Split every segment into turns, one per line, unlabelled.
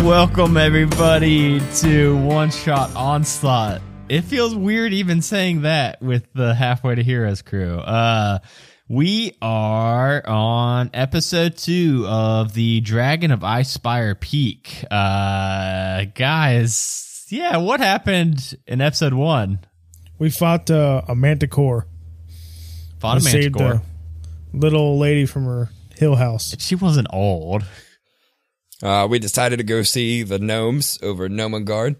Welcome everybody to One Shot Onslaught. It feels weird even saying that with the halfway to Heroes crew. Uh we are on episode two of the Dragon of Ice Spire Peak. Uh guys, yeah, what happened in episode one?
We fought uh, a manticore.
Fought a
We saved
manticore.
a little old lady from her hill house.
She wasn't old.
Uh, we decided to go see the gnomes over Gnomengard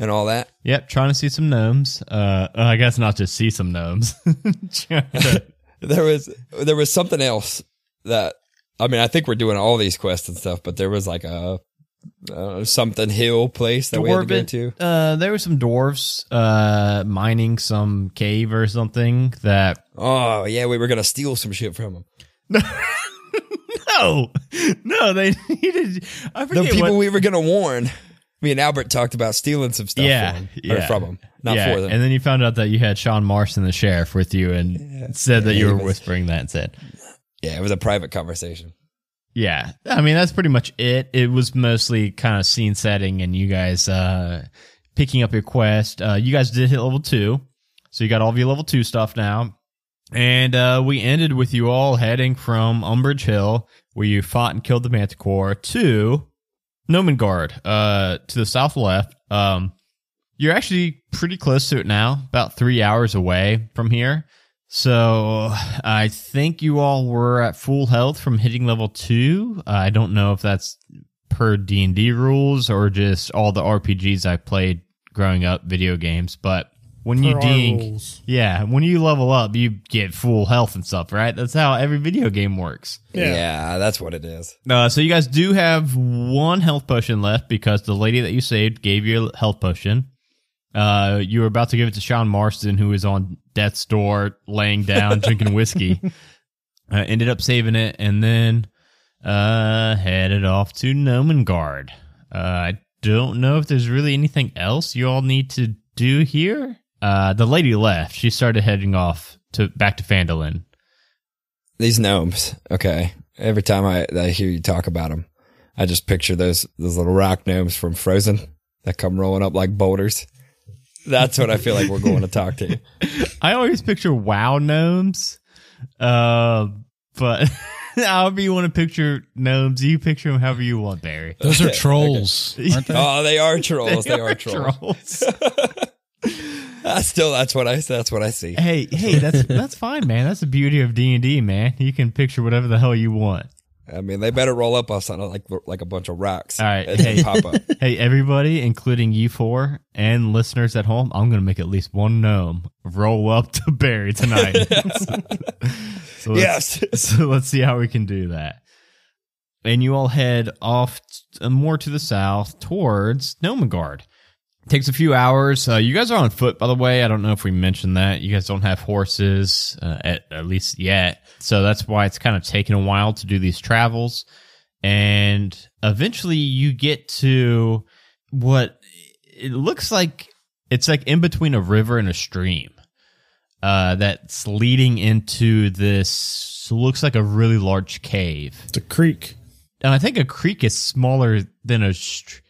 and all that.
Yep, trying to see some gnomes. Uh I guess not just see some gnomes. Trying to-
There was there was something else that I mean I think we're doing all these quests and stuff, but there was like a uh, something hill place that we had to
Dwarven-
get to.
Uh, there were some dwarves uh, mining some cave or something that.
Oh yeah, we were gonna steal some shit from them.
No, no, they needed. I
The
forget
people
what.
we were gonna warn. Me and Albert talked about stealing some stuff
yeah,
for 'em, or
yeah,
from them, not
yeah.
for them.
And then you found out that you had Sean Marston, the sheriff, with you, and said that you
he
were
was-
whispering that and said,
yeah, it was a private conversation.
"Yeah." I mean, that's pretty much it. It was mostly kind of scene setting, and you guys uh, picking up your quest. Uh, you guys did hit level two, so you got all of your level two stuff now. And uh, we ended with you all heading from Umbridge Hill, where you fought and killed the Manticore, to Nomengard, uh, to the south left. Um, you're actually pretty close to it now, about three hours away from here. So I think you all were at full health from hitting level two. Uh, I don't know if that's per D and D rules or just all the RPGs I played growing up, video games. But when you
Per our
ding,
rules.
yeah, when you level up, you get full health and stuff, right? That's how every video game works.
Yeah.
yeah, that's what it is.
Uh, so you guys do have one health potion left because the lady that you saved gave you a health potion. Uh, you were about to give it to Sean Marston, who is on death's door, laying down, drinking whiskey. Uh, ended up saving it, and then uh, headed off to Nomengard. Uh, I don't know if there's really anything else you all need to do here. Uh, the lady left. She started heading off to back to Fandolin.
These gnomes. Okay. Every time I, I hear you talk about them, I just picture those those little rock gnomes from Frozen that come rolling up like boulders. That's what I feel like we're going to talk to.
I always picture WoW gnomes, uh, but however you want to picture gnomes, you picture them however you want, Barry.
Those are trolls, aren't they?
Oh, they are trolls. They, are, trolls.
trolls.
I still, that's what I that's what I see.
hey, hey, that's that's fine, man. That's the beauty of D and D, man. You can picture whatever the hell you want.
I mean, they better roll up on something like like a bunch of rocks.
All right,
and then
hey.
pop up.
Hey, everybody, including you four and listeners at home, I'm gonna make at least one gnome roll up to Barry tonight. So let's-
Yes.
so let's see how we can do that. And you all head off t- uh, more to the south towards Nomengard. Takes a few hours. Uh, you guys are on foot, by the way. I don't know if we mentioned that. You guys don't have horses, uh, at, at least yet. So that's why it's kind of taken a while to do these travels. And eventually you get to what it looks like it's like in between a river and a stream uh, that's leading into this looks like a really large cave.
It's a creek.
And I think a creek is smaller than a. Str-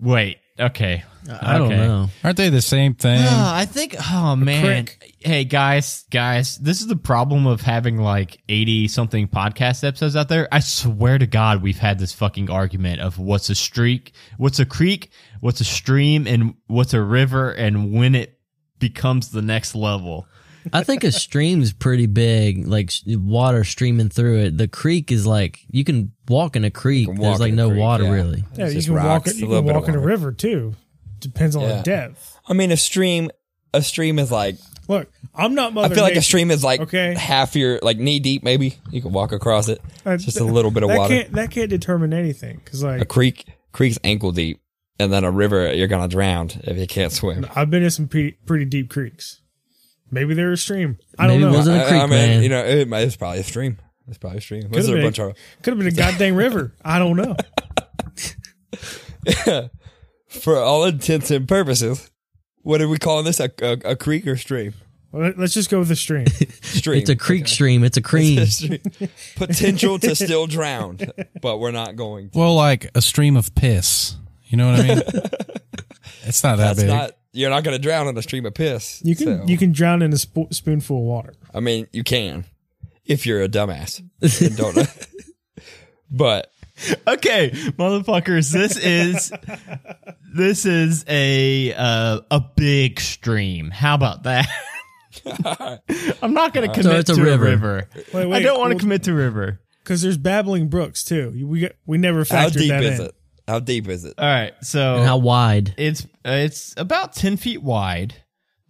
Wait. Okay.
I don't know. Aren't they the same thing?
Ah, I think. Oh man. Hey guys, guys, this is the problem of having like eighty something podcast episodes out there. I swear to God, we've had this fucking argument of what's a streak, what's a creek, what's a stream, and what's a river, and when it becomes the next level.
I think a stream's pretty big, like s- water streaming through it. The creek is like you can walk in a creek.
can walk
There's like
in a
no
creek,
water
yeah.
really.
Yeah, you
just
can walk.
rocks,
it-
a
You
little
can
bit of
walk in a
water.
river too. Depends on the
Yeah.
depth.
I mean, a stream, a stream is like
Look, I'm not mother.
I feel like a
Nature.
stream is like
Okay.
half your like knee deep. Maybe you can walk across it.
Uh,
Just a little bit of
that
water.
Can't, that can't determine anything because
a
like
creek creek's ankle deep and then a river you're gonna drown if you can't swim
I've been in some pretty, pretty deep creeks. Maybe they're a stream. I
Maybe
don't
it
know.
was a creek,
I mean
man.
you know it, might- it's probably a stream it's probably a stream
Could
was
have
there a
been,
bunch of
could've been a goddamn river. I don't know.
for all intents and purposes what are we calling this a, a, a creek or stream
Let- Let's just go with the stream.
Stream.
It's a creek stream. It's a cream.
Stream. Potential to still drown, but we're not going. To.
Well, like a stream of piss. You know what I mean? it's not that
That's
big.
not. You're not going to drown in a stream of piss.
You can
so-
you can drown in a spo- spoonful of water.
I mean, you can if you're a dumbass and don't. know. but
Okay, motherfuckers, this is this is a uh, a big stream. How about that? I'm not going to commit
it's a
to
river.
a river.
Wait, wait,
I don't want to
well-
commit to river.
Because there's babbling brooks too. We got- we never
how
factored
deep
that
is
in.
it? How deep is it?
All right, so
And how wide?
it's uh, it's about ten feet wide,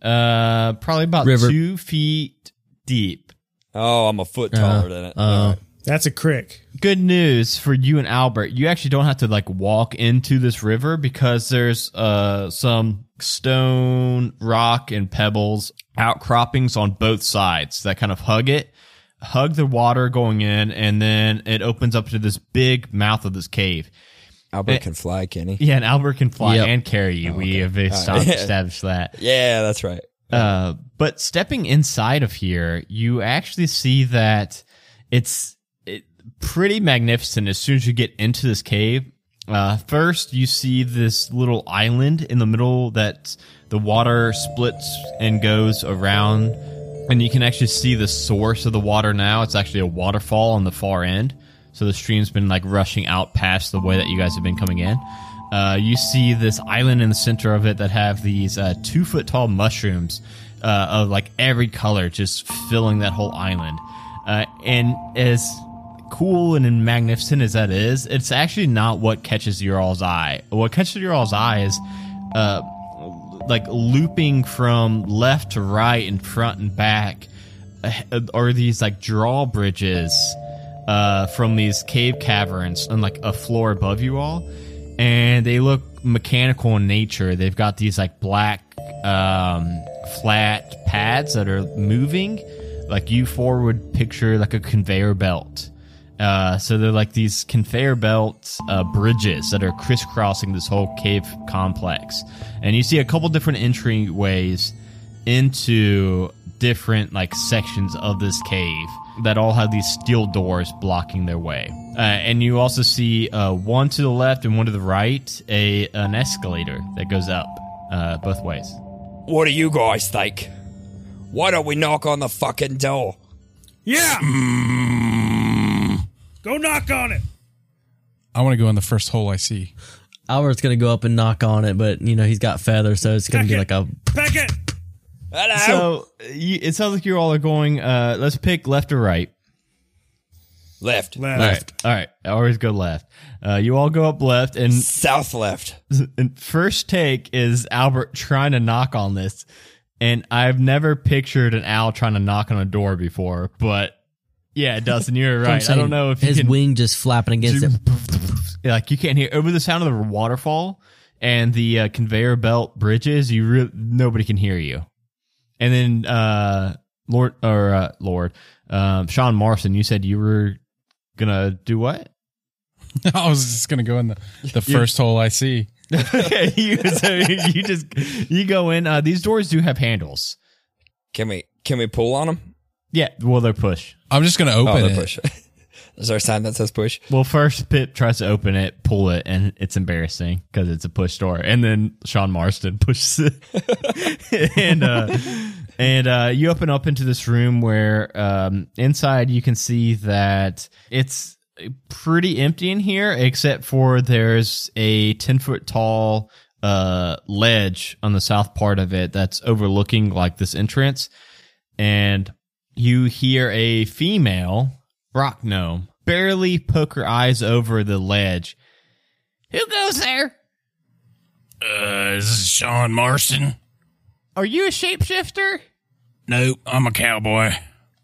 uh, probably about
River.
two feet deep.
Oh, I'm a foot taller than it.
Uh,
That's a crick.
Good news for you and Albert. You actually don't have to like walk into this river because there's uh some stone, rock, and pebbles outcroppings on both sides that kind of hug it, hug the water going in, and then it opens up to this big mouth of this cave.
Albert can fly, can he?
Yeah, and Albert can fly
Yep.
and carry you. We have established established that.
Yeah, that's right.
Uh, but stepping inside of here, you actually see that it's it, pretty magnificent as soon as you get into this cave. Uh, first, you see this little island in the middle that the water splits and goes around, and you can actually see the source of the water now. It's actually a waterfall on the far end, so the stream's been like rushing out past the way that you guys have been coming in. Uh, you see this island in the center of it that have these uh, two foot tall mushrooms uh, of like every color just filling that whole island. Uh, and as cool and magnificent as that is, it's actually not what catches your all's eye. What catches your all's eye is uh, like looping from left to right and front and back uh, are these like drawbridges uh, from these cave caverns and like a floor above you all and they look mechanical in nature they've got these like black um, flat pads that are moving like you forward picture like a conveyor belt uh, so they're like these conveyor belt uh, bridges that are crisscrossing this whole cave complex, and you see a couple different entryways into different like sections of this cave that all have these steel doors blocking their way. Uh, and you also see uh, one to the left and one to the right, a an escalator that goes up uh, both ways.
What do you guys think? Why don't we knock on the fucking door?
Yeah. go knock on it.
I want to go in the first hole I see.
Albert's gonna go up and knock on it, but you know he's got feathers, so it's gonna be like a.
Back it.
Hello.
So you, it sounds like you all are going. Uh, let's pick left or right.
left,
Left.
All right, all right. I always go left. Uh, you all go up left, and
south, left.
and first take is Albert trying to knock on this, and I've never pictured an owl trying to knock on a door before. But yeah, Dustin, you're
I'm
right. I
saying
don't know if
his
you can,
wing just flapping against it.
like you can't hear over the sound of the waterfall and the uh, conveyor belt bridges. You re- nobody can hear you. And then uh, Lord or uh, Lord um, Sean Morrison, you said you were gonna do what?
I was just gonna go in the, the first hole I see.
Okay, you, so you just you go in. Uh, these doors do have handles.
Can we can we pull on him?
Yeah, well they're push.
I'm just gonna
Oh,
open
the
it.
push. Is there a sign that says push?
Well, first Pip tries to open it, pull it, and it's embarrassing because it's a push door. And then Sean Marston pushes it, and uh, and uh, you open up into this room where um, inside you can see that it's pretty empty in here, except for there's a ten foot tall uh, ledge on the south part of it that's overlooking like this entrance, and you hear a female rock gnome barely poke her eyes over the ledge. Who goes there?
Uh, is this Sean Marston?
Are you a shapeshifter?
Nope, I'm a cowboy.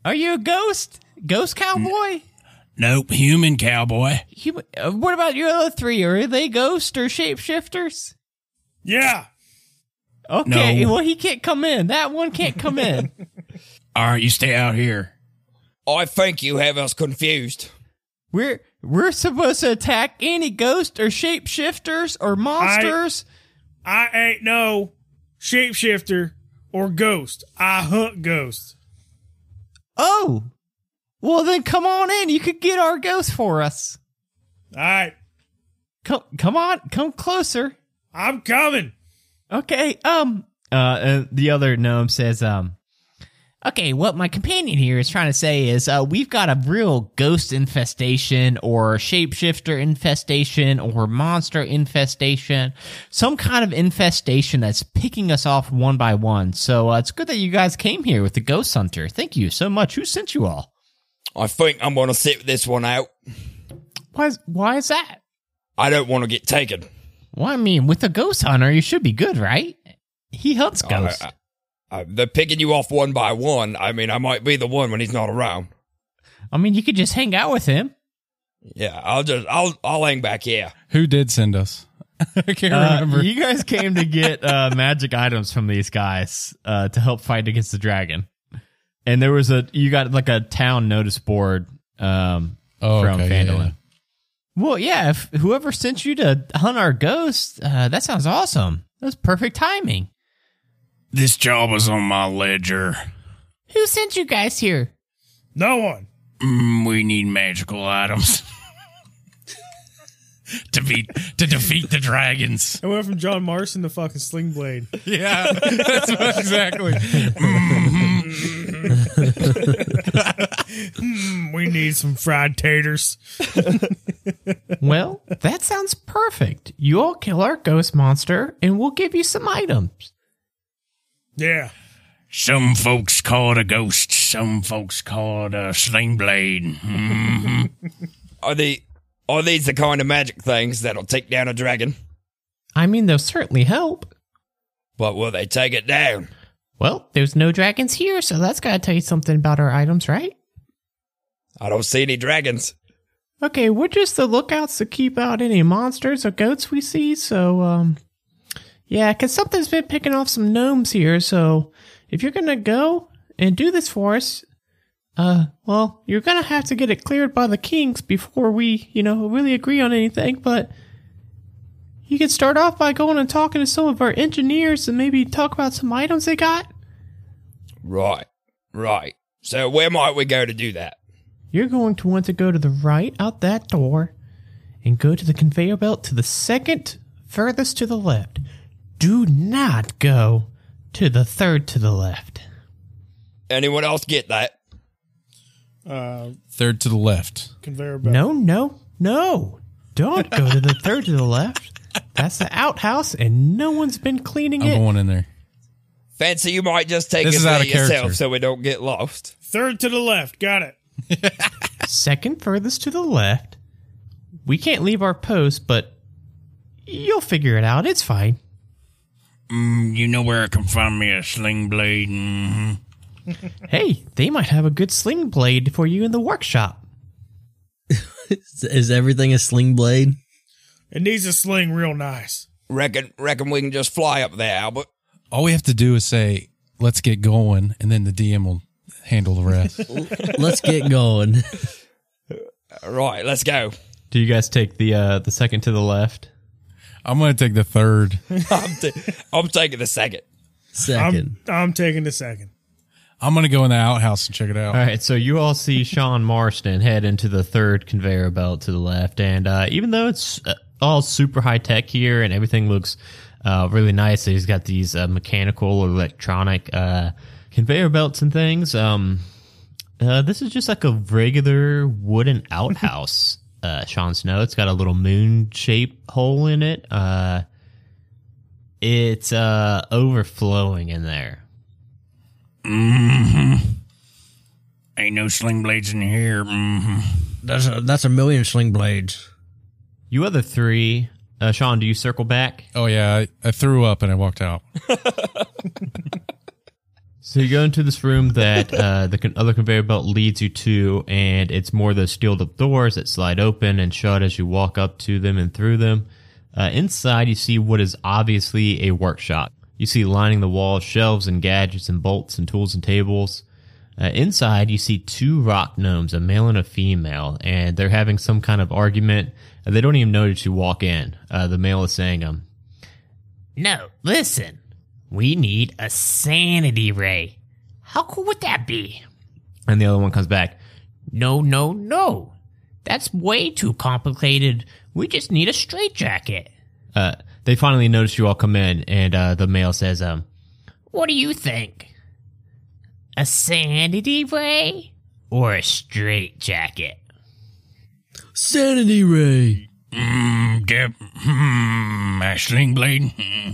Are you a ghost? Ghost cowboy?
Nope, human cowboy.
Human- uh, what about your other three? Are they ghosts or shapeshifters?
Yeah.
Okay,
No.
well, he can't come in. That one can't come in.
All right, you stay out here.
I think you have us confused.
we're we're supposed to attack any ghost or shapeshifters or monsters.
I ain't no shapeshifter or ghost. I hunt ghosts.
Oh, well then come on in. You could get our ghost for us.
All right,
Come, come on, come closer.
I'm coming.
Okay. Um. Uh. uh, the other gnome says, um. Okay, what my companion here is trying to say is, uh, we've got a real ghost infestation, or shapeshifter infestation, or monster infestation, some kind of infestation that's picking us off one by one. So uh, it's good that you guys came here with the ghost hunter. Thank you so much. Who sent you all?
I think I'm going to sit this one out.
Why? Is, why is that?
I don't want to get taken.
Well, I mean, with a ghost hunter, you should be good, right? He hunts ghosts.
Oh, I- I- I- they're picking you off one by one. I mean, I might be the one when he's not around.
I mean, you could just hang out with him.
Yeah, I'll just I'll I'll hang back here.
Who did send us? I can't
Uh,
remember.
you guys came to get uh, magic items from these guys uh, to help fight against the dragon. And there was a you got like a town notice board um,
Oh,
from
okay, yeah,
Fandolin. Well, yeah, if whoever sent you to hunt our ghost, uh, that sounds awesome. That's perfect timing.
This job is on my ledger.
Who sent you guys here?
No one.
Mm, we need magical items to beat to defeat the dragons.
I went from John Morrison to fucking Sling Blade.
yeah, that's what- exactly.
Mm-hmm. Mm, we need some fried taters.
well, that sounds perfect. You all kill our ghost monster, and we'll give you some items.
Yeah.
Some folks call it a ghost. Some folks call it a sling blade. Mhm.
Are they are these the kind of magic things that'll take down a dragon?
I mean, they'll certainly help.
But will they take it down?
Well, there's no dragons here, so that's got to tell you something about our items, right?
I don't see any dragons.
Okay, we're just the lookouts to keep out any monsters or goats we see, so, um. Yeah, because something's been picking off some gnomes here, so if you're gonna go and do this for us, uh, well, you're gonna have to get it cleared by the kings before we, you know, really agree on anything, but. You could start off by going and talking to some of our engineers and maybe talk about some items they got.
Right, right. So where might we go to do that?
You're going to want to go to the right out that door and go to the conveyor belt to the second furthest to the left. Do not go to the third to the left.
Anyone else get that?
Uh,
Third to the left.
conveyor belt.
No, no, no. Don't go to the third to the left. That's the outhouse, and no one's been cleaning
I'm
it.
going in there.
Fancy you might just take
This
it
is
there
out of
yourself
character.
so we don't get lost.
Third to the left. Got it.
Second furthest to the left. We can't leave our post, but you'll figure it out. It's fine.
Mm, you know where I can find me a sling blade. Mhm.
Hey, they might have a good sling blade for you in the workshop.
Is, is everything a sling blade?
It needs a sling real nice.
Reckon, reckon we can just fly up there, Albert.
All we have to do is say, "Let's get going," and then the DM will handle the rest.
Let's get going.
Right, let's go.
Do you guys take the uh the second to the left?
I'm going to take the third.
I'm, t- I'm taking the second.
2nd
I'm, I'm taking the second.
I'm going to go in the outhouse and check it out.
All right, so you all see Sean Marston head into the third conveyor belt to the left, and uh, even though it's uh, all super high tech here and everything looks uh, really nice, he's got these uh, mechanical or electronic uh, conveyor belts and things. Um, uh, this is just like a regular wooden outhouse, uh, Sean Snow. It's got a little moon shaped hole in it. Uh, it's uh, overflowing in there.
Ain't no sling blades in here. hmm
That's a, that's a million sling blades.
You other three, uh, Sean, do you circle back?
Oh yeah, I, I threw up and I walked out.
So you go into this room that uh, the con- other conveyor belt leads you to, and it's more those sealed up doors that slide open and shut as you walk up to them and through them. Uh, inside, you see what is obviously a workshop. You see lining the walls shelves and gadgets and bolts and tools and tables. Uh, inside, you see two rock gnomes, a male and a female, and they're having some kind of argument. Uh, They don't even notice you walk in. Uh, the male is saying, um, No, listen.
We need a sanity ray. How cool would that be?
And the other one comes back.
No, no, no. That's way too complicated. We just need a straitjacket.
Uh, they finally notice you all come in, and uh, the male says, um,
What do you think? A sanity ray or a straitjacket?
Sanity Ray.
Mm, dip, hmm, a sling blade. Hmm.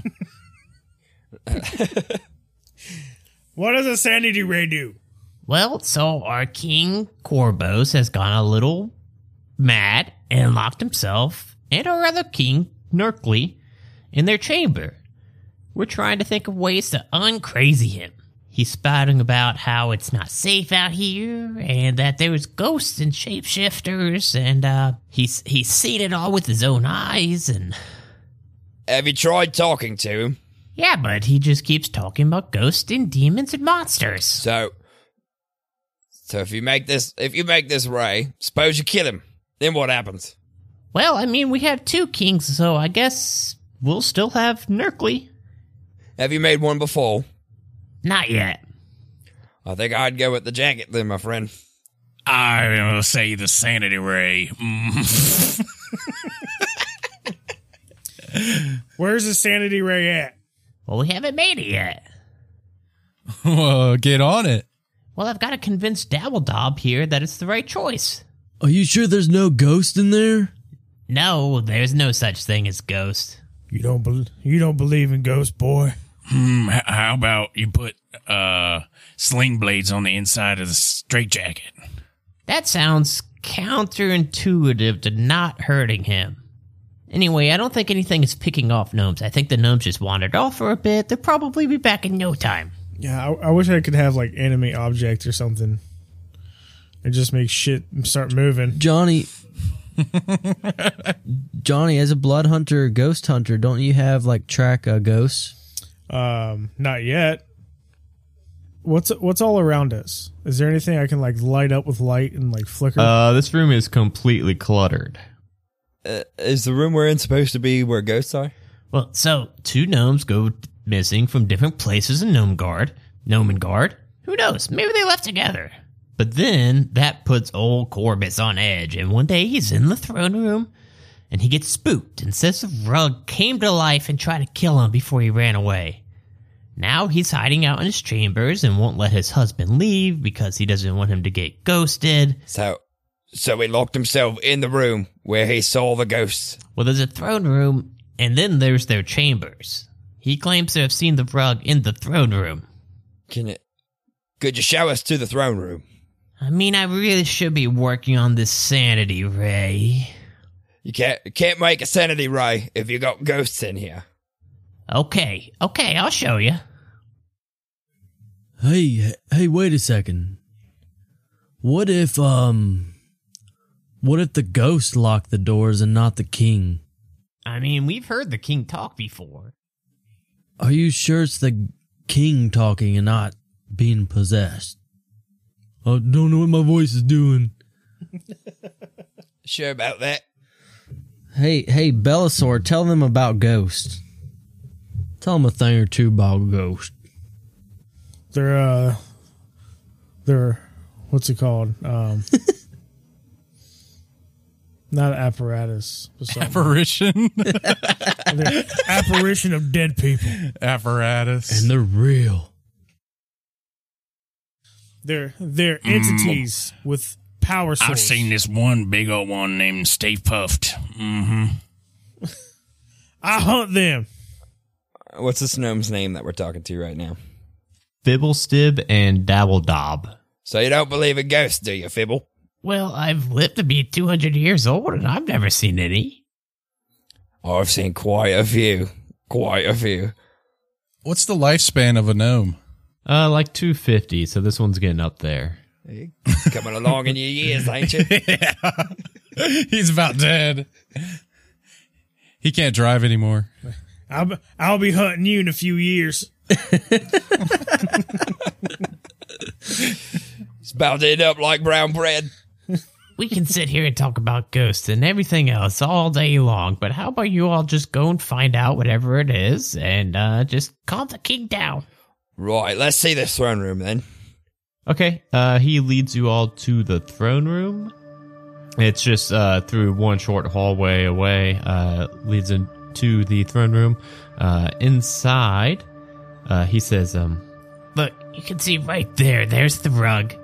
What does a sanity ray do?
Well, so our king Corbos has gone a little mad and locked himself and our other king Nerkly in their chamber. We're trying to think of ways to uncrazy him. He's spouting about how it's not safe out here and that there was ghosts and shapeshifters and uh he's he's seen it all with his own eyes and
Have you tried talking to him?
yeah, but he just keeps talking about ghosts and demons and monsters.
So, so if you make this, if you make this ray, suppose you kill him, then what happens?
Well, I mean, we have two kings, so I guess we'll still have Nerkly.
Have you made one before?
Not yet.
I think I'd go with the jacket then, my friend.
I will say the sanity ray. Mm.
Where's the sanity ray at?
Well, we haven't made it yet.
Whoa, get on it.
Well, I've got to convince Dabbledob here that it's the right choice.
Are you sure there's no ghost in there?
No, there's no such thing as ghost.
You don't bel you don't believe in ghosts, boy.
Hmm, h- how about you put uh, sling blades on the inside of the straitjacket?
That sounds counterintuitive to not hurting him. Anyway, I don't think anything is picking off gnomes. I think the gnomes just wandered off for a bit. They'll probably be back in no time.
Yeah, I, I wish I could have like anime object or something. It just makes shit start moving.
Johnny. Johnny, as a blood hunter, or ghost hunter, don't you have like track uh, ghosts?
Um, not yet. What's what's all around us? Is there anything I can like light up with light and like flicker?
uh, This room is completely cluttered.
Uh, is the room we're in supposed to be where ghosts are?
Well, so two gnomes go missing from different places in Gnome Guard. Gnome and Guard. Who knows? Maybe they left together. But then that puts old Corbus on edge, and one day he's in the throne room and he gets spooked and says the rug came to life and tried to kill him before he ran away. Now he's hiding out in his chambers and won't let his husband leave because he doesn't want him to get ghosted.
So, so he locked himself in the room where he saw the ghosts.
Well, there's a throne room, and then there's their chambers. He claims to have seen the rug in the throne room.
Can it? Could you show us to the throne room?
I mean, I really should be working on this sanity, Ray.
You can't you can't make a sanity ray if you got ghosts in here.
Okay, okay, I'll show you.
Hey, h- hey, wait a second. What if um, what if the ghost locked the doors and not the king?
I mean, we've heard the king talk before.
Are you sure it's the king talking and not being possessed? I don't know what my voice is doing.
Sure about that?
Hey, hey, Bellasaur, tell them about Ghost. Tell them a thing or two about Ghost.
they're uh, they're what's it called? Um, not apparatus. but something.
Apparition.
They're apparition of dead people.
Apparatus.
And they're real.
They're they're entities with power source.
Mm. I've seen this one big old one named Steve Puffed. hmm
I hunt them.
What's this gnome's name that we're talking to right now?
Fibblestib and Dabbledob.
So you don't believe in ghosts, do you, Fibble?
Well, I've lived to be 200 years old, and I've never seen any.
I've seen quite a few, quite a few.
What's the lifespan of a gnome?
Uh, like 250, so this one's getting up there.
You coming along in your years, ain't you?
He's about dead. He can't drive anymore.
I'll be, I'll be hunting you in a few years.
It's about to end up like brown bread.
We can sit here and talk about ghosts and everything else all day long, but how about you all just go and find out whatever it is and uh, just calm the king down?
Right, let's see the throne room then.
Okay. Uh, he leads you all to the throne room. It's just uh, through one short hallway away, uh, leads into the throne room. Uh, inside, uh, he says, um,
Look, you can see right there, there's the rug.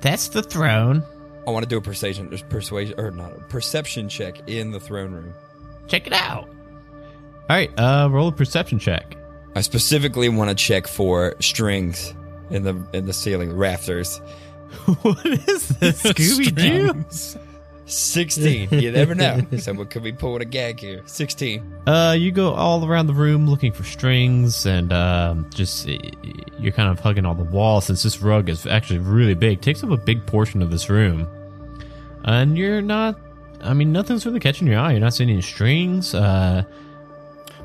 That's the throne.
I want to do a persuasion, there's persuasion or not a perception check in the throne room.
Check it out.
All right, uh, roll a perception check.
I specifically want to check for strings in the in the ceiling rafters.
what is this, Scooby Doo?
Sixteen. You never know. Someone could be pulling a gag here. Sixteen.
Uh, you go all around the room looking for strings, and um, just uh, you're kind of hugging all the walls since this rug is actually really big. Takes up a big portion of this room, and you're not. I mean, nothing's really catching your eye. You're not seeing any strings. Uh,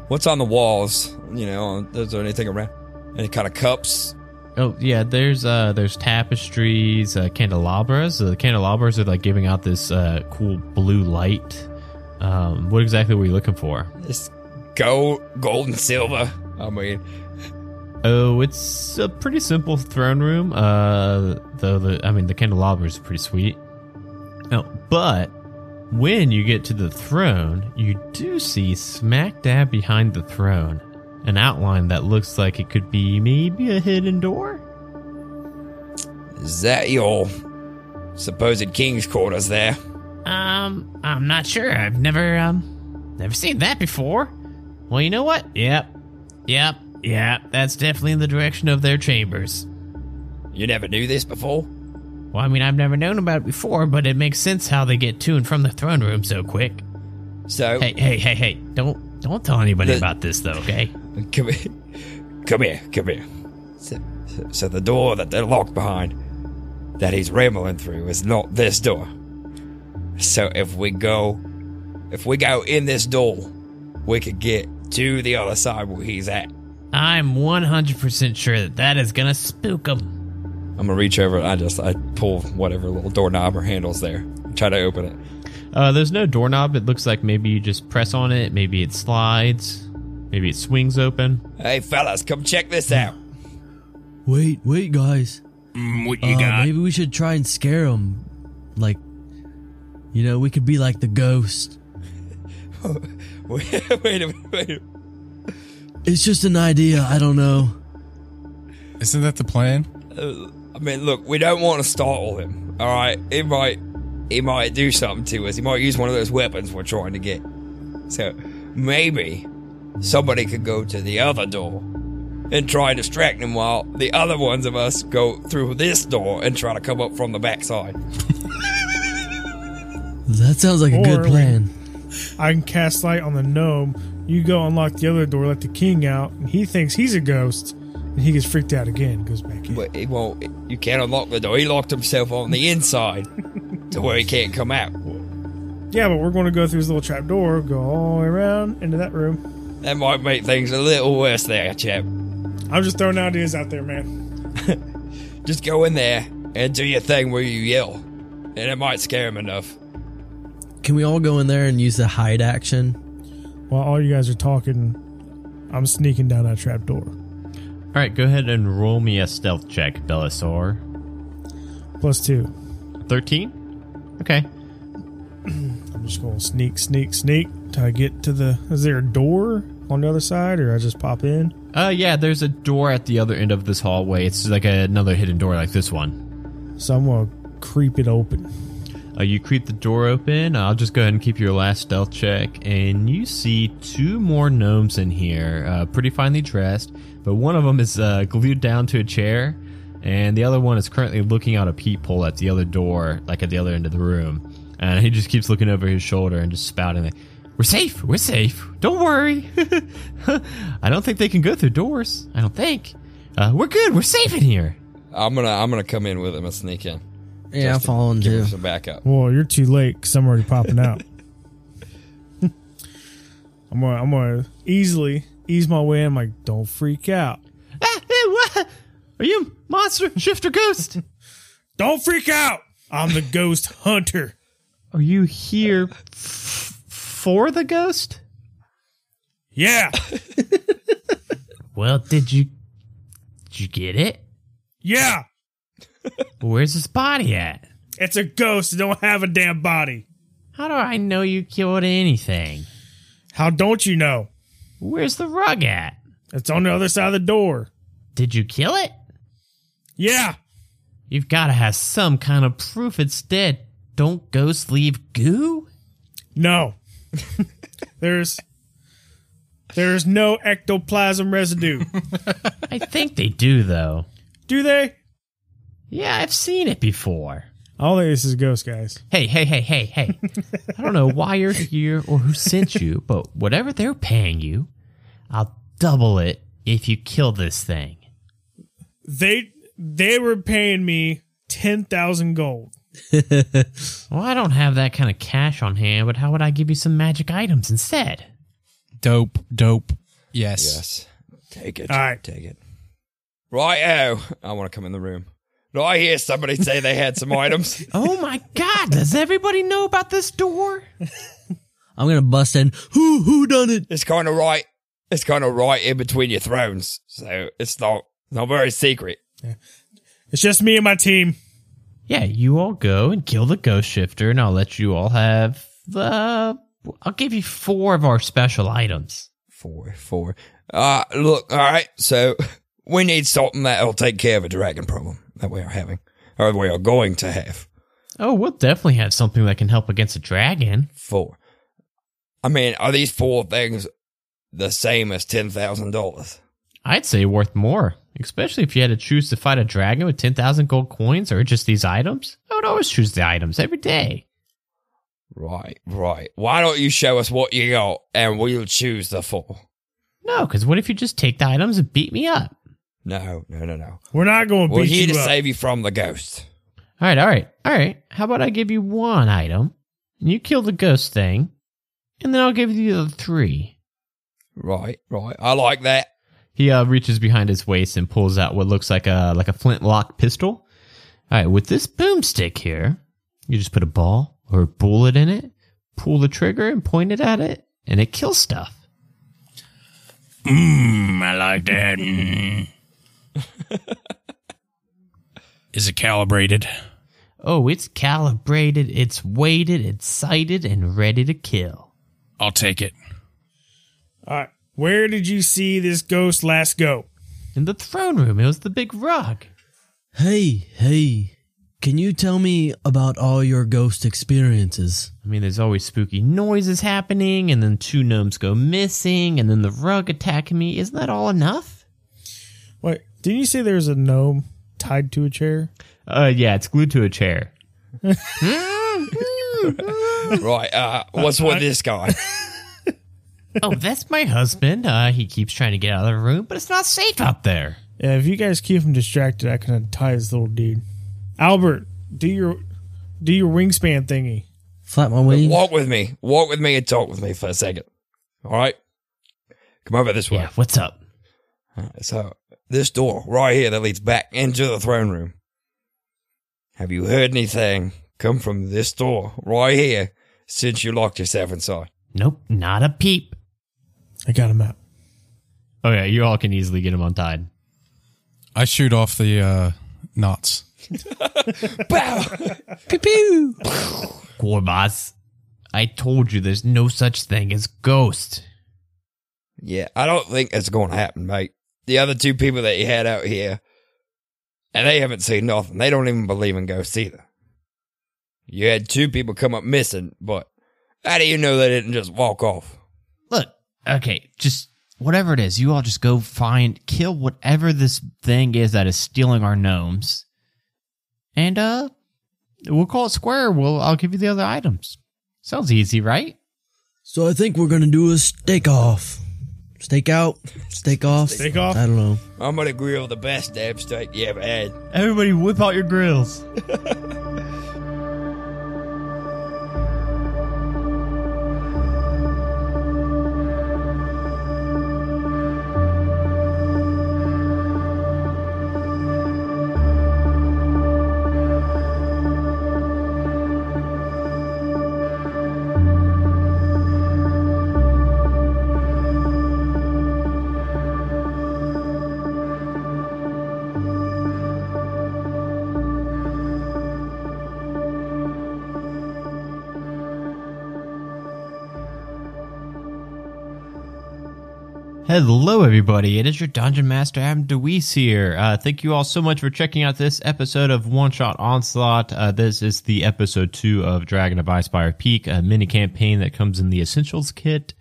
What's on the walls? You know, uh, is there anything around? Any kind of cups?
oh yeah, there's uh, there's tapestries, uh, candelabras. The candelabras are like giving out this uh, cool blue light. Um, what exactly were you looking for?
It's gold, gold and silver. I mean,
Oh, it's a pretty simple throne room. Uh, though the I mean the candelabra is pretty sweet. Oh, but when you get to the throne, you do see smack dab behind the throne an outline that looks like it could be maybe a hidden door.
is that your supposed king's quarters there?
Um, I'm not sure. I've never, um, never seen that before. Well, you know what? Yep. Yep. Yep. That's definitely in the direction of their chambers.
You never knew this before?
Well, I mean, I've never known about it before, but it makes sense how they get to and from the throne room so quick.
So
Hey, hey, hey, hey! Don't, don't tell anybody
The-
about this, though. Okay?
Come here. Come here. Come here. So, so the door that they're locked behind, that he's rambling through, is not this door. So if we go, if we go in this door, we could get to the other side where he's at.
I'm 100% sure that that is gonna spook them.
I'm gonna reach over. and I just I pull whatever little doorknob or handles there. Try to open it.
Uh, there's no doorknob. It looks like maybe you just press on it. Maybe it slides. Maybe it swings open.
Hey fellas, come check this out.
Wait, wait, guys.
Mm, what you
Uh,
got?
Maybe we should try and scare them. Like, you know, we could be like the ghost.
wait a minute. Wait a minute.
It's just an idea. I don't know.
Isn't that the plan?
Uh, I mean, look, we don't want to startle him. All right, he might, he might do something to us. He might use one of those weapons we're trying to get. So maybe somebody could go to the other door and try and distract him, while the other ones of us go through this door and try to come up from the backside.
That sounds like a
Or
good
we-
plan.
I can cast light on the gnome. You go unlock the other door, let the king out, and he thinks he's a ghost, and he gets freaked out again, goes back in.
But he won't. You can't unlock the door. He locked himself on the inside to where he can't come out.
Yeah, but we're going to go through his little trap door, go all the way around into that room.
That might make things a little worse, there, chap.
I'm just throwing ideas out there, man.
Just go in there and do your thing where you yell, and it might scare him enough.
Can we all go in there and use the hide action?
While all you guys are talking, I'm sneaking down that trap door.
All right, go ahead and roll me a stealth check, Belisor.
Plus two.
13? Okay.
I'm just going to sneak, sneak, sneak till I get to the. Is there a door on the other side, or I just pop in?
Uh, yeah, there's a door at the other end of this hallway. It's like another hidden door like this one.
So I'm going to creep it open.
Uh, you creep the door open. Uh, I'll just go ahead and keep your last stealth check. And you see two more gnomes in here, uh, pretty finely dressed. But one of them is uh, glued down to a chair. And the other one is currently looking out a peephole at the other door, like at the other end of the room. And he just keeps looking over his shoulder and just spouting, like, We're safe. We're safe. Don't worry. I don't think they can go through doors. I don't think. Uh, we're good. We're safe in here.
I'm gonna I'm gonna come in with him and sneak in.
Yeah, I'm
Just to
following
give
too.
him some backup.
Well, you're too late because I'm already popping out. I'm going to I'm gonna easily ease my way in. I'm like, don't freak out.
Ah, eh, what? Are you a monster, shifter, ghost?
Don't freak out! I'm the ghost hunter.
Are you here f- for the ghost?
Yeah.
Well, did you did you get it?
Yeah.
Where's his body at?
It's a ghost. It don't have a damn body.
How do I know you killed anything?
How don't you know?
Where's the rug at?
It's on the other side of the door.
Did you kill it?
Yeah.
You've got to have some kind of proof it's dead. Don't ghosts leave goo?
No. there's there's no ectoplasm residue.
I think they do though.
Do they?
Yeah, I've seen it before.
All think this is ghost guys.
Hey, hey, hey, hey, hey. I don't know why you're here or who sent you, but whatever they're paying you, I'll double it if you kill this thing.
They they were paying me ten thousand gold.
Well, I don't have that kind of cash on hand, but how would I give you some magic items instead?
Dope, dope. Yes.
Yes. Take it.
All right.
Take it. Right. Oh, I want to come in the room. Do I hear somebody say they had some items?
Oh my god, does everybody know about this door?
I'm gonna bust in. Who who done it?
It's kind of right. It's kind of right in between your thrones, so it's not not very secret.
It's just me and my team.
Yeah, you all go and kill the ghost shifter, and I'll let you all have the. I'll give you four of our special items.
Four, four. Uh look. All right. So we need something that'll take care of a dragon problem that we are having, or we are going to have.
Oh, we'll definitely have something that can help against a dragon.
Four. I mean, are these four things the same as ten thousand dollars?
I'd say worth more, especially if you had to choose to fight a dragon with 10,000 gold coins or just these items. I would always choose the items every day.
Right, right. Why don't you show us what you got, and we'll choose the four?
No, because what if you just take the items and beat me up?
No, no, no, no.
We're not going to
We're
beat
here to
you up.
save you from the ghost.
All right, all right, all right. How about I give you one item, and you kill the ghost thing, and then I'll give you the other three.
Right, right. I like that.
He uh, reaches behind his waist and pulls out what looks like a like a flintlock pistol. All right, with this boomstick here, you just put a ball or a bullet in it, pull the trigger and point it at it, and it kills stuff.
Mmm, I like that. Mm. Is it calibrated?
Oh, it's calibrated, it's weighted, it's sighted, and ready to kill.
I'll take it.
All right. Where did you see this ghost last go?
In the throne room, it was the big rug.
Hey, hey. Can you tell me about all your ghost experiences?
I mean, there's always spooky noises happening, and then two gnomes go missing, and then the rug attacking me. Isn't that all enough?
Wait, didn't you say there was a gnome tied to a chair?
Uh, yeah, it's glued to a chair.
Right. Uh, what's with this guy?
oh, that's my husband. Uh, he keeps trying to get out of the room, but it's not safe out there.
Yeah, if you guys keep him distracted, I can untie this little dude. Albert, do your do your wingspan thingy.
Flap my wings.
Walk with me. Walk with me and talk with me for a second. All right. Come over this way.
Yeah, what's up?
So this door right here that leads back into the throne room. Have you heard anything come from this door right here since you locked yourself inside?
Nope, not a peep.
I got him out.
Oh, yeah, you all can easily get him untied.
I shoot off the uh, knots.
Gorbaz, I told you there's no such thing as ghost.
Yeah, I don't think it's going to happen, mate. The other two people that you had out here, and they haven't seen nothing. They don't even believe in ghosts either. You had two people come up missing, but how do you know they didn't just walk off?
Look, okay, just whatever it is, you all just go find, kill whatever this thing is that is stealing our gnomes, and uh, we'll call it square. We'll I'll give you the other items. Sounds easy, right?
So I think we're gonna do a steak off. Steak out, steak off.
Steak off?
I don't know.
I'm gonna grill the best damn steak you ever had.
Everybody, whip out your grills. Hello, everybody. It is your Dungeon Master, Adam DeWeese here. Uh, thank you all so much for checking out this episode of One Shot Onslaught. Uh, this is the episode two of Dragon of Icepire Peak, a mini campaign that comes in the Essentials kit.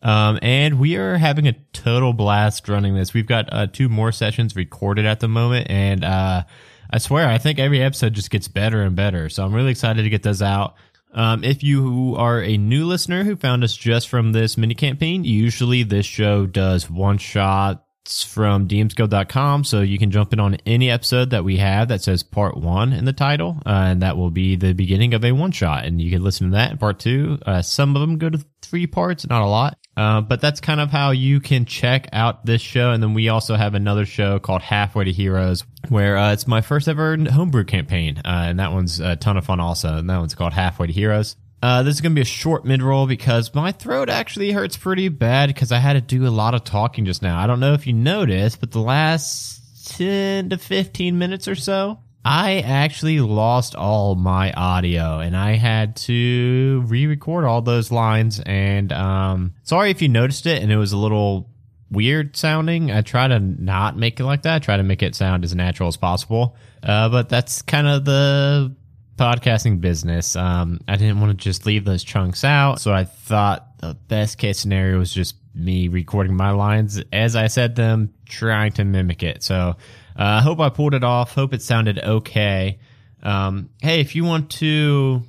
Um, and we are having a total blast running this. We've got uh, two more sessions recorded at the moment, and uh, I swear, I think every episode just gets better and better. So I'm really excited to get those out. Um, if you are a new listener who found us just from this mini campaign, usually this show does one shots from dmsguild.com. So you can jump in on any episode that we have that says part one in the title, uh, and that will be the beginning of a one shot. And you can listen to that in part two. Uh, some of them go to three parts, not a lot. Uh, but that's kind of how you can check out this show. And then we also have another show called Halfway to Heroes, where uh, it's my first ever homebrew campaign. Uh, and that one's a ton of fun, also. And that one's called Halfway to Heroes. Uh, this is going to be a short mid roll because my throat actually hurts pretty bad because I had to do a lot of talking just now. I don't know if you noticed, but the last 10 to 15 minutes or so, I actually lost all my audio and I had to re record all those lines. And um, sorry if you noticed it and it was a little weird sounding. I try to not make it like that. I try to make it sound as natural as possible. Uh, but that's kind of the podcasting business. Um, I didn't want to just leave those chunks out. So I thought the best case scenario was just me recording my lines as I said them, trying to mimic it. So I uh, hope I pulled it off. Hope it sounded okay. Um, hey, if you want to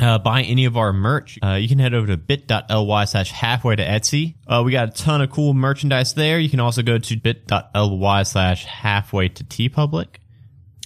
uh, buy any of our merch, uh, you can head over to bit.ly slash halfway to Etsy. Uh, we got a ton of cool merchandise there. You can also go to bit.ly slash halfway to tpublic.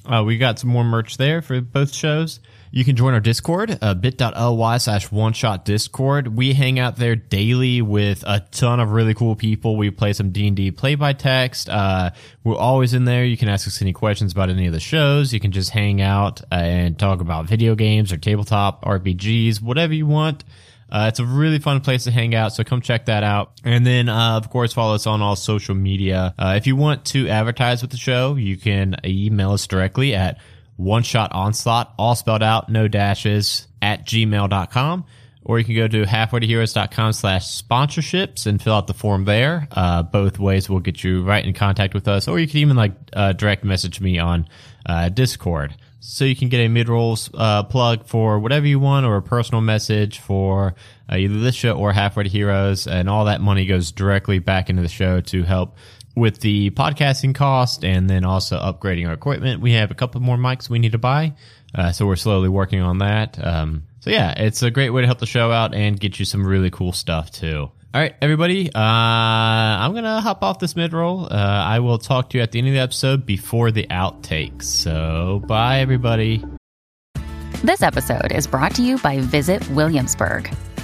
Uh, we got some more merch there for both shows. You can join our Discord, uh, bit.ly slash one shot Discord. We hang out there daily with a ton of really cool people. We play some D&D play by text. Uh, we're always in there. You can ask us any questions about any of the shows. You can just hang out uh, and talk about video games or tabletop RPGs, whatever you want. Uh, it's a really fun place to hang out, so come check that out. And then, uh, of course, follow us on all social media. Uh, if you want to advertise with the show, you can email us directly at one shot onslaught, all spelled out, no dashes, at gmail.com. Or you can go to halfway to heroes.com slash sponsorships and fill out the form there. Uh, both ways will get you right in contact with us. Or you can even like uh, direct message me on uh, Discord so you can get a mid-rolls uh, plug for whatever you want or a personal message for uh, either this show or halfway to heroes and all that money goes directly back into the show to help with the podcasting cost and then also upgrading our equipment we have a couple more mics we need to buy uh, so we're slowly working on that um, so yeah it's a great way to help the show out and get you some really cool stuff too all right, everybody. Uh, I'm gonna hop off this mid roll. Uh, I will talk to you at the end of the episode before the outtakes. So, bye, everybody.
This episode is brought to you by Visit Williamsburg.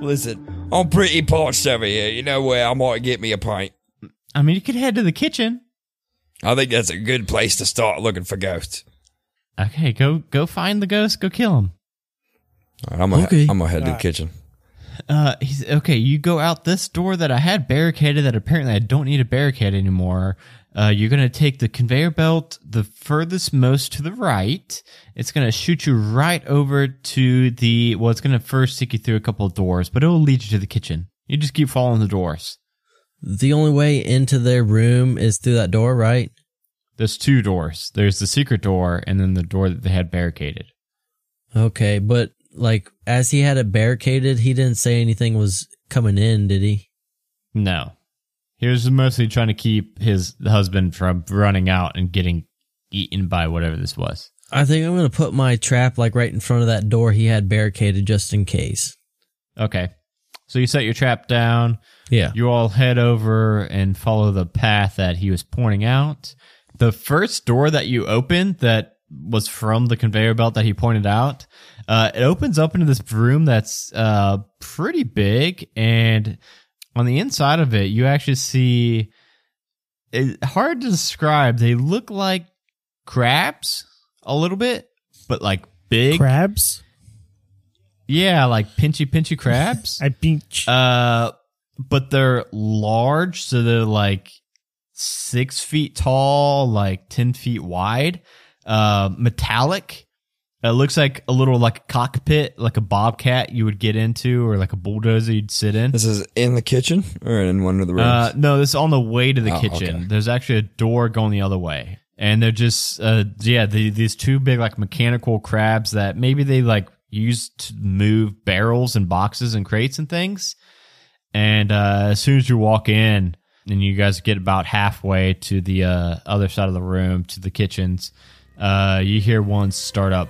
Listen, I'm pretty parched over here. You know where I might get me a pint.
I mean, you could head to the kitchen.
I think that's a good place to start looking for ghosts.
Okay, go go find the ghost. Go kill him.
All right, I'm gonna,
Okay.
I'm gonna head to the kitchen.
Uh, he's okay. You go out this door that I had barricaded. That apparently I don't need a barricade anymore. Uh, you're gonna take the conveyor belt the furthest most to the right. It's gonna shoot you right over to the. Well, it's gonna first take you through a couple of doors, but it will lead you to the kitchen. You just keep following the doors.
The only way into their room is through that door, right?
There's two doors. There's the secret door, and then the door that they had barricaded.
Okay, but like as he had it barricaded, he didn't say anything was coming in, did he?
No. He was mostly trying to keep his husband from running out and getting eaten by whatever this was.
I think I'm gonna put my trap like right in front of that door he had barricaded just in case.
Okay. So you set your trap down.
Yeah.
You all head over and follow the path that he was pointing out. The first door that you open that was from the conveyor belt that he pointed out, uh, it opens up into this room that's uh, pretty big. And on the inside of it, you actually see it, hard to describe. They look like crabs a little bit, but like big.
Crabs?
Yeah, like pinchy, pinchy crabs.
I pinch.
Uh, but they're large, so they're like six feet tall, like ten feet wide. Uh, metallic. It looks like a little like a cockpit, like a bobcat you would get into, or like a bulldozer you'd sit in.
This is in the kitchen or in one of the rooms.
Uh, no, this is on the way to the
Oh,
kitchen.
okay.
There's actually a door going the other way, and they're just uh, yeah, the, these two big like mechanical crabs that maybe they like use to move barrels and boxes and crates and things. And uh, as soon as you walk in, and you guys get about halfway to the uh, other side of the room to the kitchens, uh, you hear one start up.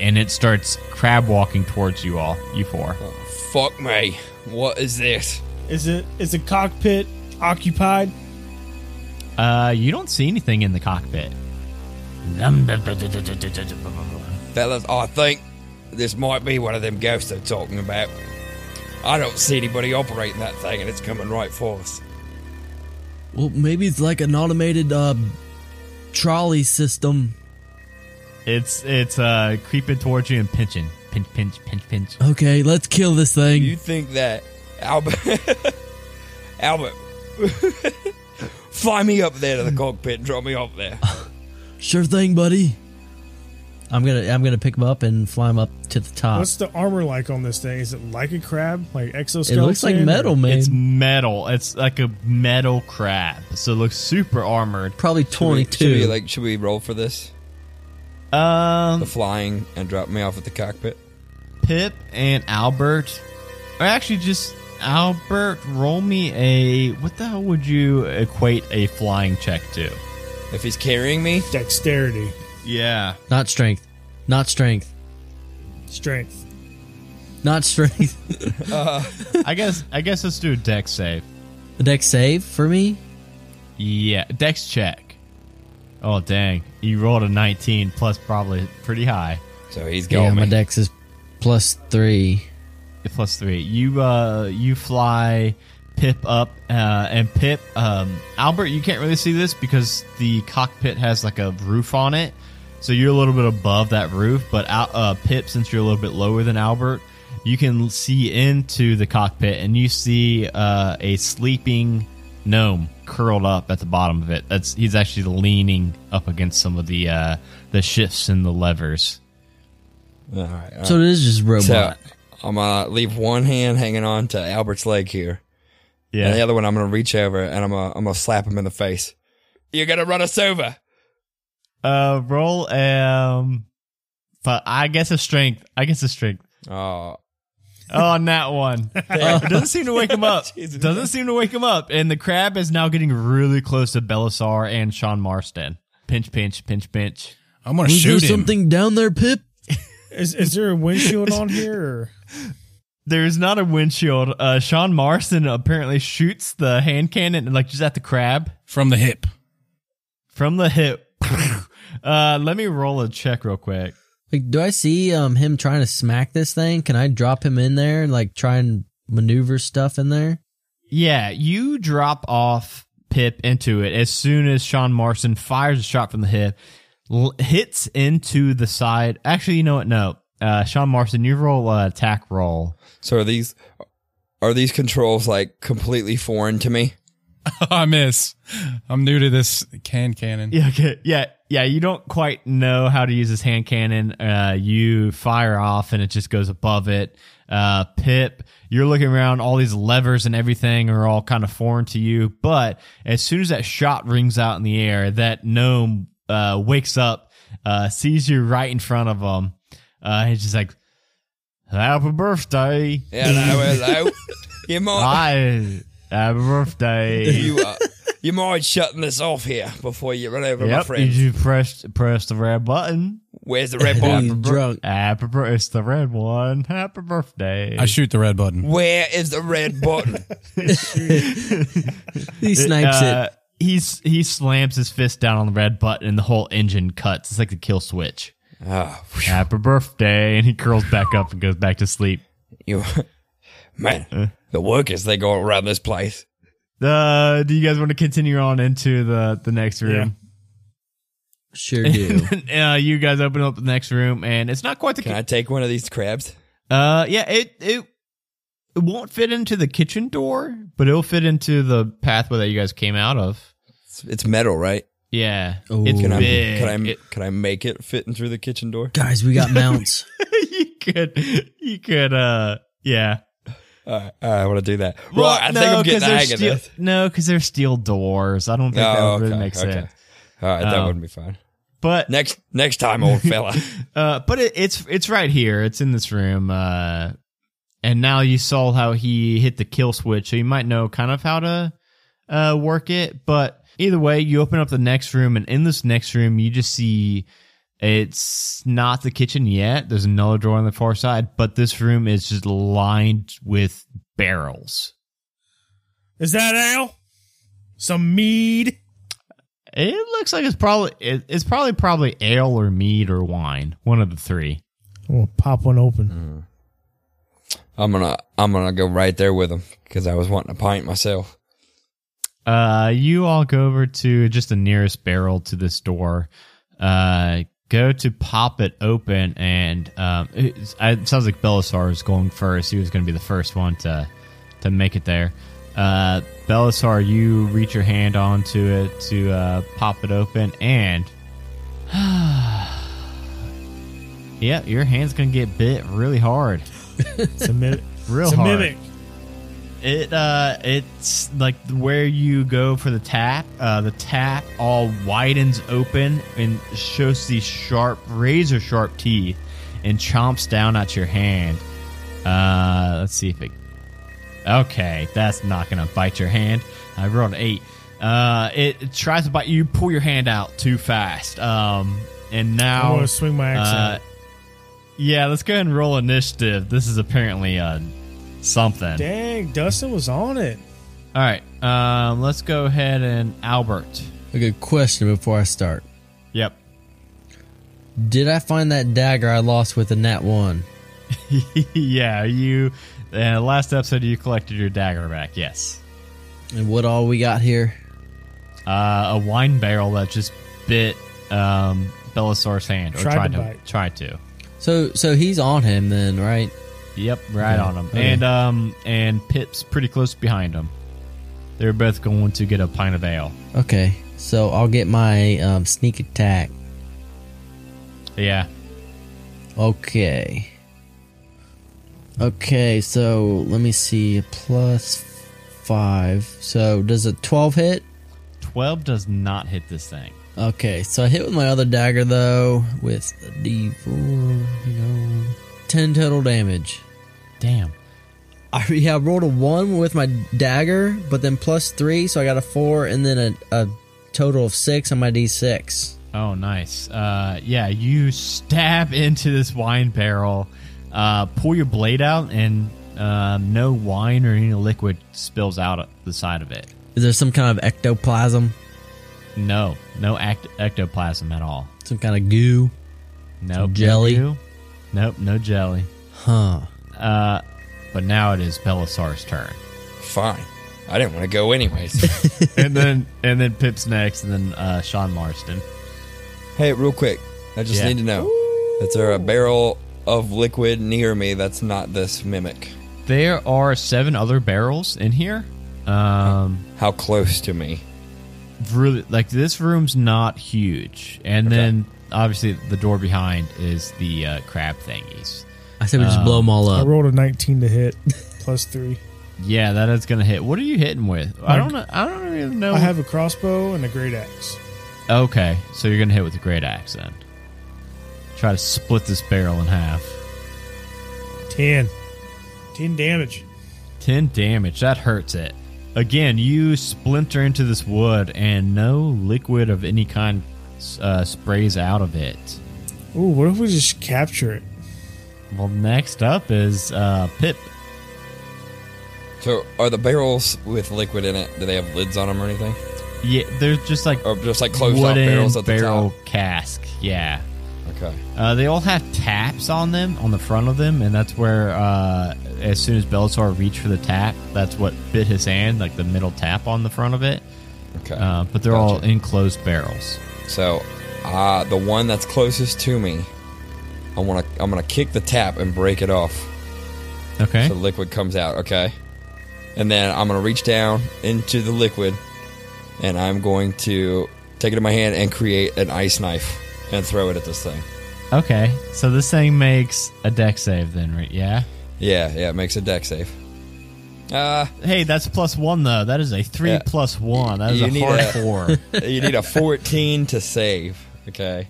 And it starts crab walking towards you all, you four.
Fuck me. What is this?
is it is the cockpit occupied?
Uh, you don't see anything in the cockpit.
Fellas, I think this might be one of them ghosts they're talking about. I don't see anybody operating that thing and it's coming right for us.
Well, maybe it's like an automated uh, trolley system.
It's it's uh creeping towards you and pinching, pinch, pinch, pinch, pinch.
Okay, let's kill this thing.
You think that Albert Albert Fly me up there to the cockpit and drop me off there.
sure thing, buddy. I'm gonna I'm gonna pick him up and fly him up to the top.
What's the armor like on this thing? Is it like a crab? Like
Uh. it
exoskeleton?
looks like metal, man.
It's metal. It's like a metal crab, so it looks super armored.
probably
Should we-
22.
Should we, like, should we roll for this?
Um,
The flying and drop me off at the cockpit?
Pip and Albert, or actually just Albert, roll me a what the hell would you equate a flying check to?
If he's carrying me,
Dexterity.
Yeah,
not strength. Not strength.
Strength.
Not strength.
I guess I guess let's do a dex save.
the deck save for me?
Yeah, dex check. Oh dang, you rolled a 19 plus probably pretty high.
so he's
yeah,
going.
my dex is plus three.
plus three. You uh you fly Pip up uh, and Pip um Albert. You can't really see this because the cockpit has like a roof on it, so you're a little bit above that roof. But Al- uh, Pip, since you're a little bit lower than Albert, you can see into the cockpit and you see uh, a sleeping gnome curled up at the bottom of it. That's he's actually leaning up against some of the uh, the shifts and the levers.
All right, all right.
So it is just robot.
So I'm gonna leave one hand hanging on to Albert's leg here, and the other one I'm gonna reach over and I'm gonna, I'm gonna slap him in the face. You're gonna run us over.
Uh, roll um, but I guess a strength. I guess a strength.
Oh,
Oh, on that one. it doesn't seem to wake him up. doesn't seem to wake him up. And the crab is now getting really close to Belisar and Sean Marston. Pinch, pinch, pinch, pinch.
I'm gonna
Was there
shoot him.
something down there, Pip?
Is, is there a windshield on here? Or?
There is not a windshield. Uh, Sean Marston apparently shoots the hand cannon like just at the crab
from the hip.
from the hip. uh, let me roll a check real quick.
Like, do I see um him trying to smack this thing? Can I drop him in there and like try and maneuver stuff in there?
Yeah, you drop off Pip into it as soon as Sean Marson fires a shot from the hip, l- hits into the side. Actually, you know what? No, uh, Sean Marson, you roll uh, attack roll.
so are these are these controls like completely foreign to me?
I miss. I'm new to this can cannon.
Yeah, okay. yeah, yeah. You don't quite know how to use this hand cannon. Uh, you fire off, and it just goes above it. Uh, Pip, you're looking around. All these levers and everything are all kind of foreign to you. But as soon as that shot rings out in the air, that gnome uh, wakes up, uh, sees you right in front of him. Uh, he's just like, "Happy birthday!"
And I was like, you might,
Hi, happy birthday.
you, uh, you mind shutting this off here before you run over my
yep, you
friend.
just press press the red button.
Where's the red button?
He's drunk.
Happy birthday! It's the red one. Happy birthday!
I shoot the red button.
Where is the red button?
He snipes
Uh, He's he slams his fist down on the red button and the whole engine cuts. It's like the kill switch.
oh, phew,
Happy birthday! And he curls back up and goes back to sleep.
you, man, the workers they go around this place.
Uh, do you guys want to continue on into the the next room?
it. Sure do.
uh, you guys open up the next room, and it's not quite the.
Can I take one of these crabs?
uh, yeah, it it it won't fit into the kitchen door, but it'll fit into the pathway that you guys came out of.
It's, it's metal, right?
Yeah,
Ooh.
it's
Can
Can I,
big.
can I
It-
can I make it fit in through the kitchen door?
Guys, we got mounts.
you could, you could, uh, yeah.
All right, all right, I want to do that. right, I think I'm getting
'cause
the
they're
hang of
steel,
this.
No, because they're steel doors. I don't think that
Oh,
would really
okay,
make
okay.
sense.
All right, that
Um,
wouldn't be fine.
But
Next next time, old fella.
Uh, but it, it's it's right here. It's in this room. Uh, and now you saw how he hit the kill switch, so you might know kind of how to uh, work it. But either way, you open up the next room, and in this next room, you just see it's not the kitchen yet. There's another door on the far side, but this room is just lined with barrels.
Is that ale? Some mead?
It looks like it's probably it, it's probably probably ale or mead or wine, one of the three.
I'm gonna pop one
Mm.
open.
I'm gonna I'm gonna go right there with him because I was wanting a pint myself.
Uh, you all go over to just the nearest barrel to this door. Uh, go to pop it open, and um, it, it sounds like Belisar is going first. He was going to be the first one to to make it there. Uh, Belisar, you reach your hand onto it to uh, pop it open, and yeah, your hand's going to get bit really hard,
It's a mimic.
real
it's a
hard.
mimic.
It uh, it's like where you go for the tap. Uh, the tap all widens open and shows these sharp, razor sharp teeth, and chomps down at your hand. Uh, let's see if it. Okay, that's not gonna bite your hand. I rolled an eight. Uh, it, it tries to bite you. Pull your hand out too fast. Um, and
I
now
want to swing my axe.
uh,
out.
yeah, let's go ahead and roll initiative. This is apparently uh something.
Dang, Dustin was on it.
All right. Um, let's go ahead and Albert.
a good question before I start.
Yep.
Did I find that dagger I lost with a nat one?
yeah, you. Uh, last episode, you collected your dagger back. Yes.
And what all we got here?
Uh, a wine barrel that just bit um, Belisar's hand, or
Tried
tried,
to
to,
bite.
try to.
So so he's on him then, right?
Yep, right on him.
okay.
And um, and Pip's pretty close behind him. They're both going to get a pint of ale.
Okay. So I'll get my um, sneak attack.
Yeah.
Okay. Okay, so let me see. Plus five. So does a 12 hit?
Twelve does not hit this thing.
Okay, so I hit with my other dagger though with a d4. Hang on. 10 total damage.
Damn.
I, yeah, I rolled a 1 with my dagger, but then plus 3, so I got a 4 and then a, a total of 6 on my d6.
Oh, nice. Uh, yeah, you stab into this wine barrel, uh, pull your blade out, and uh, no wine or any liquid spills out of the side of it.
Is there some kind of ectoplasm?
No, no act- ectoplasm at all.
Some kind of goo?
Nope, No
jelly?
goo. Nope, no jelly.
Huh.
Uh, but now it is Belisar's turn.
Fine. I didn't want to go anyways.
and then and then Pip's next, and then uh, Sean Marston.
hey, real quick, I just
Yeah.
need to know: is there a barrel of liquid near me that's not this mimic?
There are seven other barrels in here. Um,
How close to me?
really like this room's not huge and then obviously the door behind is the uh, crab thingies
I said we just blow them all
I
uh,
up.
rolled a 19 to hit, plus three.
yeah that is gonna hit what are you hitting with i don't know i don't even know
I have a crossbow and a great axe.
Okay, so you're gonna hit with a great axe then. Try to split this barrel in half.
Ten. Ten damage.
10 damage. That hurts it. Again, you splinter into this wood, and no liquid of any kind uh, sprays out of it.
Ooh, what if we just capture it?
Well, next up is uh, Pip.
So, are the barrels with liquid in it? Do they have lids on them or anything?
Yeah, they're just like
Or just like closed off
wooden
barrels at the
barrel
top?
cask. Yeah.
Okay.
Uh, they all have taps on them, on the front of them, and that's where, uh, as soon as Belisar reached for the tap, that's what bit his hand, like the middle tap on the front of it.
Okay.
Uh, but they're all enclosed barrels.
So, uh, the one that's closest to me, I want to. I'm gonna kick the tap and break it off.
Okay.
So the liquid comes out. Okay. And then I'm gonna reach down into the liquid, and I'm going to take it in my hand and create an ice knife and throw it at this thing.
Okay, so this thing makes a deck save then, right? Yeah.
Yeah, yeah. It makes a deck save. Uh,
Hey, that's plus one though. That is a three
Yeah.
plus one. That is
You
a
need
hard
a-
four.
you need a 14 to save. Okay.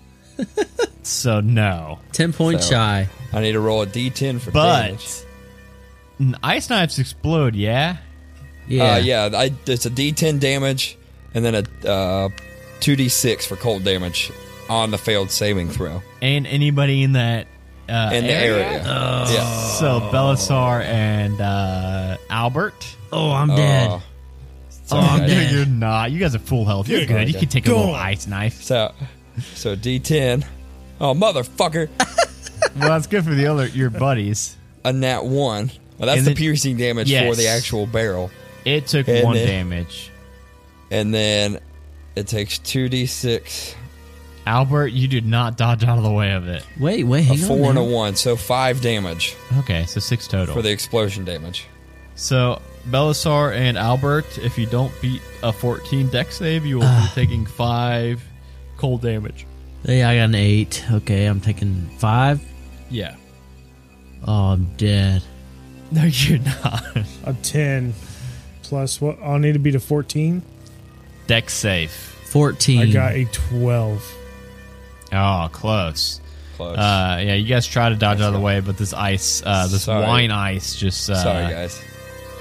so no.
Ten point
So- uh,
shy.
I need to roll a d10 for
But-
damage.
N- Ice knives explode. Yeah.
Yeah.
Uh, yeah, I, it's a d10 damage and then a uh, 2d6 for cold damage on the failed saving throw
And anybody in that. Uh,
in the
area?
area. Yeah.
So Belisar and uh, Albert.
Oh, I'm dead.
Oh.
Oh,
I'm
no,
dead.
you're not. You guys are full health. You're good. You can take a little ice knife.
So, so d10. Oh, motherfucker.
Well, that's good for the other your buddies.
a nat 1. Well, that's
And
the
then-
piercing damage for
Yes.
the actual barrel.
It took
And
one
then-
damage.
And then it takes 2d6,
Albert, you did not dodge out of the way of it.
Wait, wait,
a
hang
4
on.
and a
man.
1. So 5 damage
Okay, so six total.
for the explosion damage.
So, Belisar and Albert, if you don't beat a 14 deck save, you will be taking five cold damage.
Yeah, I got an eight. Okay, I'm taking five.
Yeah.
Oh, I'm dead.
No, you're not.
A ten plus what? I'll need to be to fourteen.
deck save.
Fourteen.
Hmm.
I got a twelve.
Oh, close.
Close.
Uh, yeah, you guys try to dodge out of the way, but this ice, uh, this
Sorry.
wine ice, just uh,
Sorry, guys.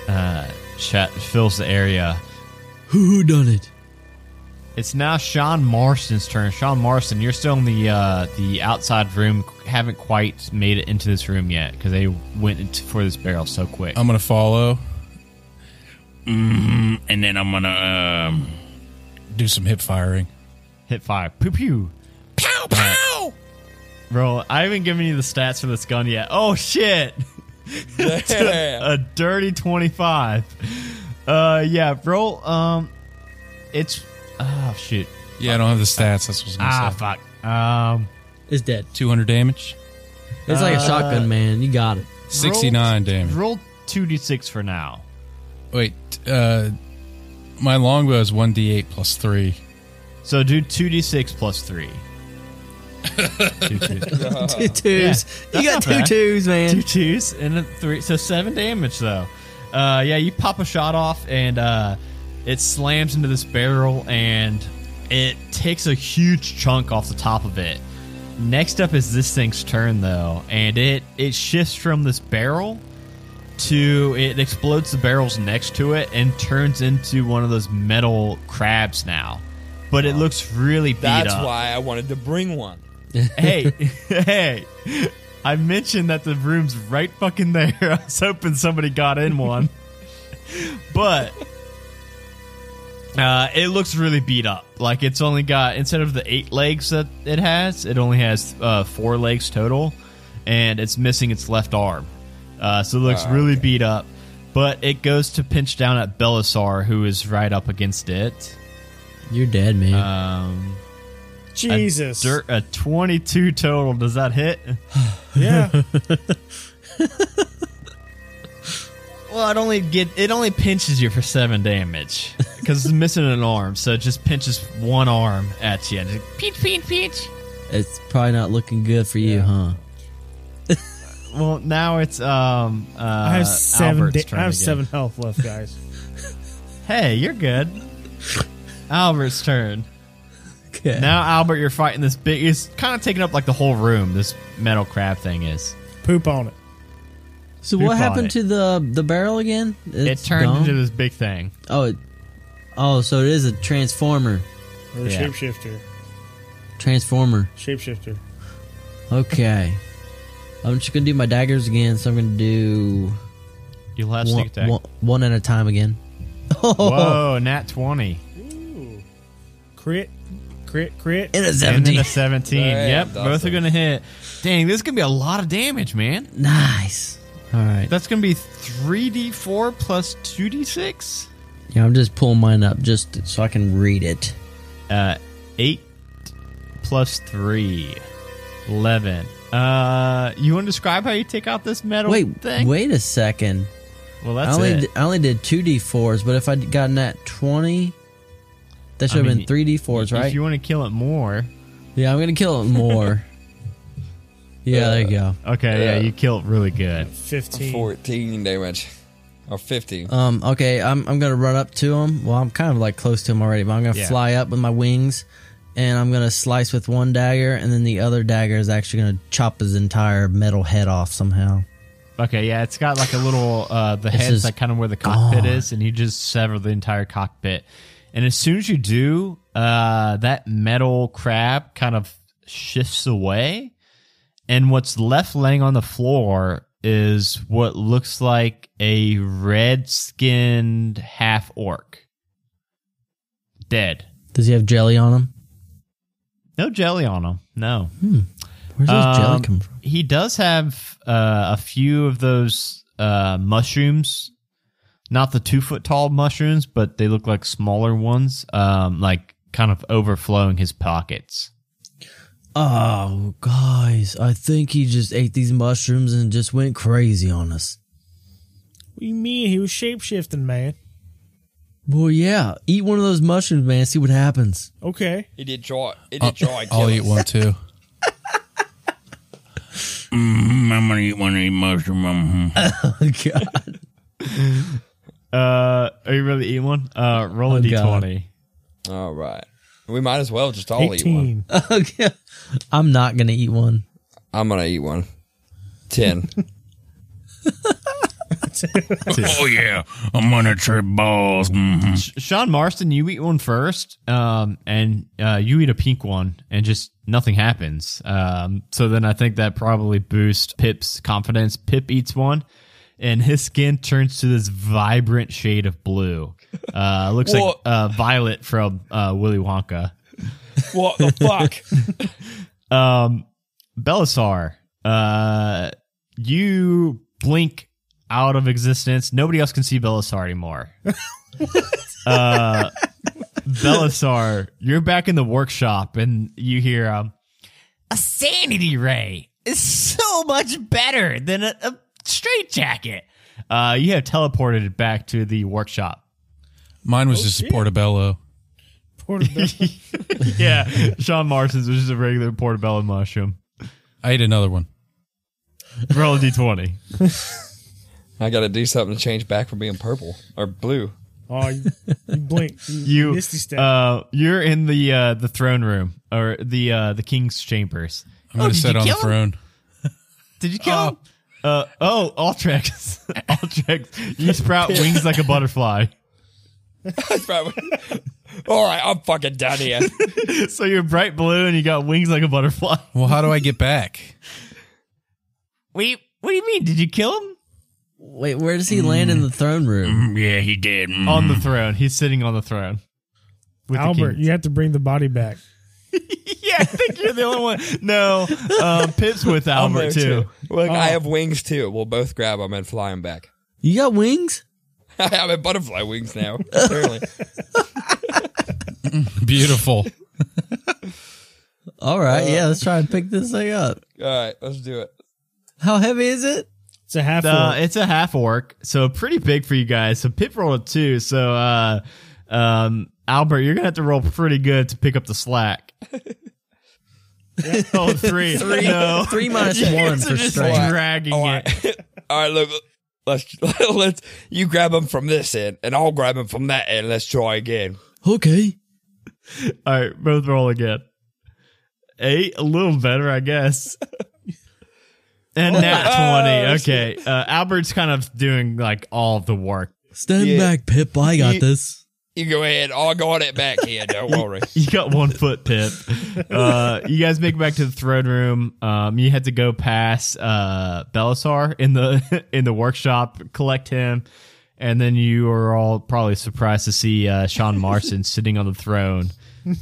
uh, shat- fills the area.
who who done it?
It's now Sean Marston's turn. Sean Marston, you're still in the uh, the outside room. Haven't quite made it into this room yet because they went into, for this barrel so
Oh.
quick.
I'm gonna follow,
Mm-hmm. And then I'm gonna um,
do some hip firing.
Hit fire. Pew pew.
pow pow.
Bro, I haven't given you the stats for this gun yet. Oh shit!
Yeah.
A dirty twenty-five. Uh, yeah. Roll. Um, it's. Oh shoot.
Yeah, I don't have the stats. That's what I was gonna
Ah
say.
fuck. Um,
It's dead.
Two hundred damage,
It's like a shotgun, man. You got it.
sixty nine damage.
roll two d six for now.
Wait, uh, my longbow is one d eight plus three.
So do two d six plus three. two, two,
Two twos.
Yeah,
you got
that's not
two
bad.
twos, man.
two twos and a three so seven damage though uh yeah you pop a shot off and uh it slams into this barrel and it takes a huge chunk off the top of it next up is this thing's turn though and it it shifts from this barrel to it explodes the barrels next to it and turns into one of those metal crabs now but it looks really beat
That's
up
why I wanted to bring one.
hey, hey. I mentioned that the room's right fucking there. I was hoping somebody got in one. but uh, it looks really beat up. Like it's only got instead of the eight legs that it has, it only has uh, four legs total, and it's missing its left arm. Uh, so it looks really beat up. But it goes to pinch down at Belisar, who is right up against it.
You're dead, man.
Um, a
Jesus.
dirt- a twenty-two total. Does that hit?
Yeah.
Well, it only get it only pinches you for seven damage because it's missing an arm, so it just pinches one arm at you. Just,
Peach peach peach.
it's probably not looking good for you, huh?
well, now it's um. Uh,
I have seven.
Albert's
Da-
turn
I have
again.
seven health left, guys.
Hey, you're good. Albert's turn.
Yeah.
Now, Albert, you're fighting this big. It's kind of taking up like the whole room. This metal crab thing is.
Poop on it.
So
Poop
what
on
happened
it.
to the the barrel again? It's
it turned
gone?
into this big thing.
oh, it, oh, so it is a transformer.
Or a
Yeah.
shapeshifter.
Transformer.
Shapeshifter.
Okay. I'm just gonna do my daggers again. So I'm gonna do
You'll have
one,
sneak attack.
one- one at a time again.
Whoa, nat 20.
Crit. Crit. Crit.
And a
And then
17.
a 17.
Damn,
yep, both are
Dawson.
going to hit. Dang, this is going to be a lot of damage, man.
nice. All right.
That's going to be 3d4 plus 2d6.
Yeah, I'm just pulling mine up just so I can read it.
Uh, 8 plus 3. 11. Uh, you want to describe how you take out this metal
Wait,
thing?
wait a second.
Well,
I
that's
only
it.
d- I only did two d4s, but if I would gotten that 20, that should have
mean,
been three d4s, right?
If you want to kill it more.
Yeah, I'm gonna kill it more. yeah, there you go.
Okay, yeah,
Yeah.
you kill it really good.
15.
14 damage. Or 15.
Um, okay, I'm I'm gonna run up to him. Well, I'm kind of like close to him already, but I'm gonna
Yeah.
fly up with my wings, and I'm gonna slice with one dagger, and then the other dagger is actually gonna chop his entire metal head off somehow.
Okay, yeah, it's got like a little uh the head's
is
like kind of where the cockpit
gone.
is, and you just sever the entire cockpit. And as soon as you do, uh that metal crab kind of shifts away, and what's left laying on the floor is what looks like a red skinned half orc. Dead.
Does he have jelly on him?
No jelly on him. No.
Where's this jelly
Um,
come from?
He does have uh, a few of those uh, mushrooms, not the two foot tall mushrooms, but they look like smaller ones, um, like kind of overflowing his pockets.
Oh, guys, I think he just ate these mushrooms and just went crazy on us.
What do you mean? He was shapeshifting, man.
Well, yeah, eat one of those mushrooms, man. See what happens.
Okay.
He did try. He did try. and
I'll
kill
eat
us.
one too.
Mm, I'm gonna eat one of these mushrooms. mhm.
God.
Uh, are you really eating one? Uh, roll a
Oh, God.
d20.
All right. We might as well just all eat one.
18.
okay. I'm not gonna eat one.
I'm going to eat one. 10.
oh yeah, I'm gonna trip balls. mhm.
Sh- Sean Marston, you eat one first, um, and uh, you eat a pink one, and just nothing happens. Um, so then I think that probably boosts Pip's confidence. Pip eats one, and his skin turns to this vibrant shade of blue. Uh, looks like
Whoa.
uh, Violet from uh, Willy Wonka.
what the fuck?
Um, Belisar, uh, you blink out of existence. Nobody else can see Belisar anymore. uh, Belisar, you're back in the workshop and you hear um, a sanity ray is so much better than a, a straitjacket. Uh, you have teleported back to the workshop.
Mine
Oh,
was just a portobello.
Portobello.
Yeah, Sean Marston's was just a regular portobello mushroom.
I ate another one.
Roll a d20.
I got to do something to change back from being purple or blue.
oh, you, you blinked. You,
you
misty step.
uh you're in the uh the throne room or the uh the king's chambers
I'm
Oh,
going to sit on the throne.
did you kill him uh oh Altrex Altrex you sprout wings like a butterfly
all right, I'm fucking done here.
so you're bright blue and you got wings like a butterfly
Well, how do I get back?
what do you, what do you mean did you kill him
Wait, where does he land in the throne room?
Mm, Yeah, he did. mhm.
on the throne he's sitting on the throne with the
Albert,
king.
you have to bring the body back.
yeah I think you're the only one no um Pip's with Albert too Oh.
Look, I have wings too. We'll both grab them and fly them back.
You got wings?
I have a butterfly wings now. Apparently,
Beautiful.
All right, yeah, let's try and pick this thing up.
all right, let's do it.
How heavy is it?
It's a half
Uh,
orc.
it's a half orc, so pretty big for you guys. So Pip rolled a two. So uh, um, Albert, you're gonna have to roll pretty good to pick up the slack. oh, three. No.
Three minus
You
one
guys are
for
Oh, just
strength.
dragging
All
it.
right, all right. Look, let's let's you grab them from this end, and I'll grab them from that end. Let's try again.
Okay.
All right, both roll again. Eight, a little better, I guess. And nat 20. Okay. Uh, Albert's kind of doing like all the work.
Stand
Yeah.
back, Pip. I got
You-
this.
You go ahead. I got it back here. Don't worry.
You got one foot, Pip. Uh, you guys make it back to the throne room. Um, you had to go past uh, Belisar in the in the workshop, collect him, and then you are all probably surprised to see uh, Sean Marston sitting on the throne,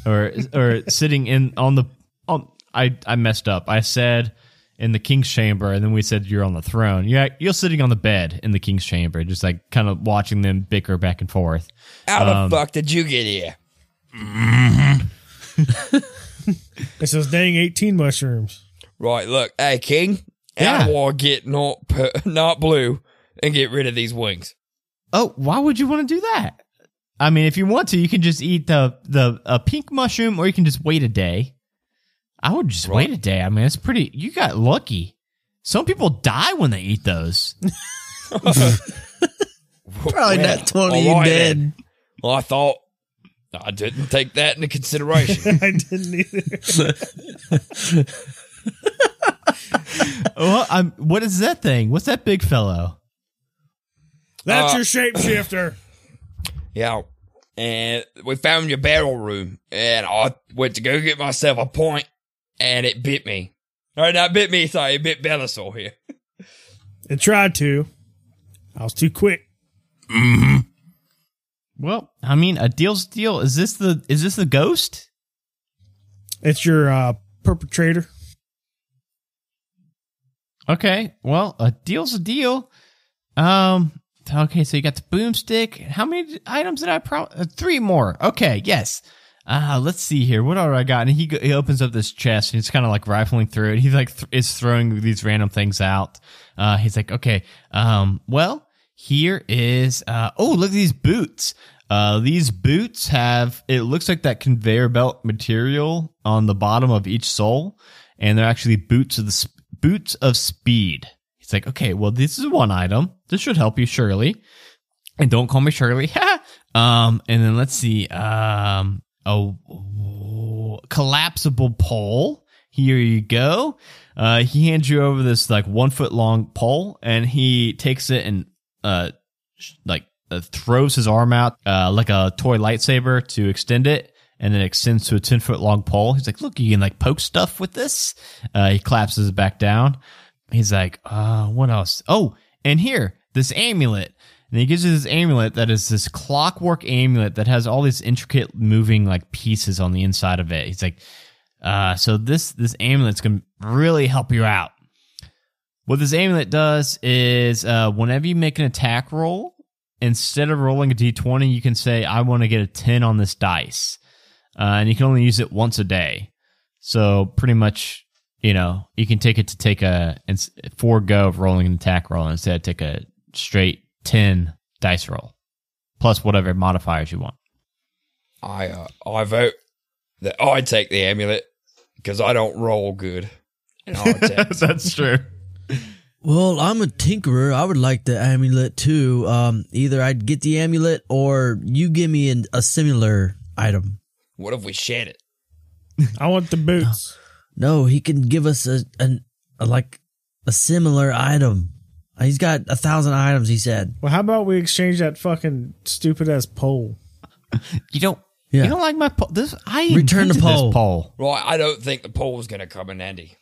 or or sitting in on the on. I I messed up. I said in the king's chamber, and then we said you're on the throne. Yeah, you're sitting on the bed in the king's chamber, just like kind of watching them bicker back and forth.
How
Um,
the fuck did you get here?
It's those dang 18 mushrooms.
Right, look, hey King, how do I get not pu- not blue and get rid of these wings?
Oh, why would you want to do that? I mean, if you want to, you can just eat the the a pink mushroom, or you can just wait a day. I would just wait a day. I mean, it's pretty. You got lucky. Some people die when they eat those.
Probably not 20,
all
you
right
dead.
then. Well, I thought I didn't take that into consideration.
I didn't either.
well, I'm, what is that thing? What's that big fellow?
That's
Uh,
your shapeshifter.
yeah, and we found your barrel room, and I went to go get myself a point, and it bit me. All right, not bit me. Sorry, it bit Bellasaur here.
It tried to. I was too quick.
Well, I mean, a deal's a deal. Is this the is this the ghost?
It's your uh, perpetrator.
Okay. Well, a deal's a deal. Um. Okay. So you got the boomstick. How many items did I pro? Uh, three more. Okay. Yes. Uh, let's see here. What all I got? And he go- he opens up this chest and he's kind of like rifling through it. He like th- is throwing these random things out. Uh, he's like, okay. Um. Well, here is. Uh. Oh, look at these boots. Uh, these boots have it looks like that conveyor belt material on the bottom of each sole, and they're actually boots of the sp- boots of speed. He's like, okay, well, this is one item. This should help you, Shirley. And don't call me Shirley. um, and then let's see. Um, a w- collapsible pole. Here you go. Uh, he hands you over this like one foot long pole, and he takes it and uh, sh- like uh, throws his arm out uh, like a toy lightsaber to extend it and then extends to a 10 foot long pole he's like look you can like poke stuff with this uh, he collapses it back down he's like uh, what else oh and here this amulet and he gives you this amulet that is this clockwork amulet that has all these intricate moving like pieces on the inside of it he's like uh, so this this amulet's gonna really help you out what this amulet does is uh, whenever you make an attack roll, instead of rolling a d20, you can say, I want to get a 10 on this dice. Uh, and you can only use it once a day. So pretty much, you know, you can take it to take a and s- forego of rolling an attack roll and instead take a straight 10 dice roll plus whatever modifiers you want.
I uh, I vote that I take the amulet because I don't roll good. And I take
That's true.
Well, I'm a tinkerer. I would like the amulet too. Um, either I'd get the amulet or you give me an, a similar item.
What if we shed it?
I want the boots.
No, he can give us a, an, a like a similar item. He's got a thousand items. He said.
Well, how about we exchange that fucking stupid ass pole?
You don't
Yeah.
you don't like my pole. This I
Return the
invented this
pole.
pole.
Right, I don't think the poll was going to come in handy.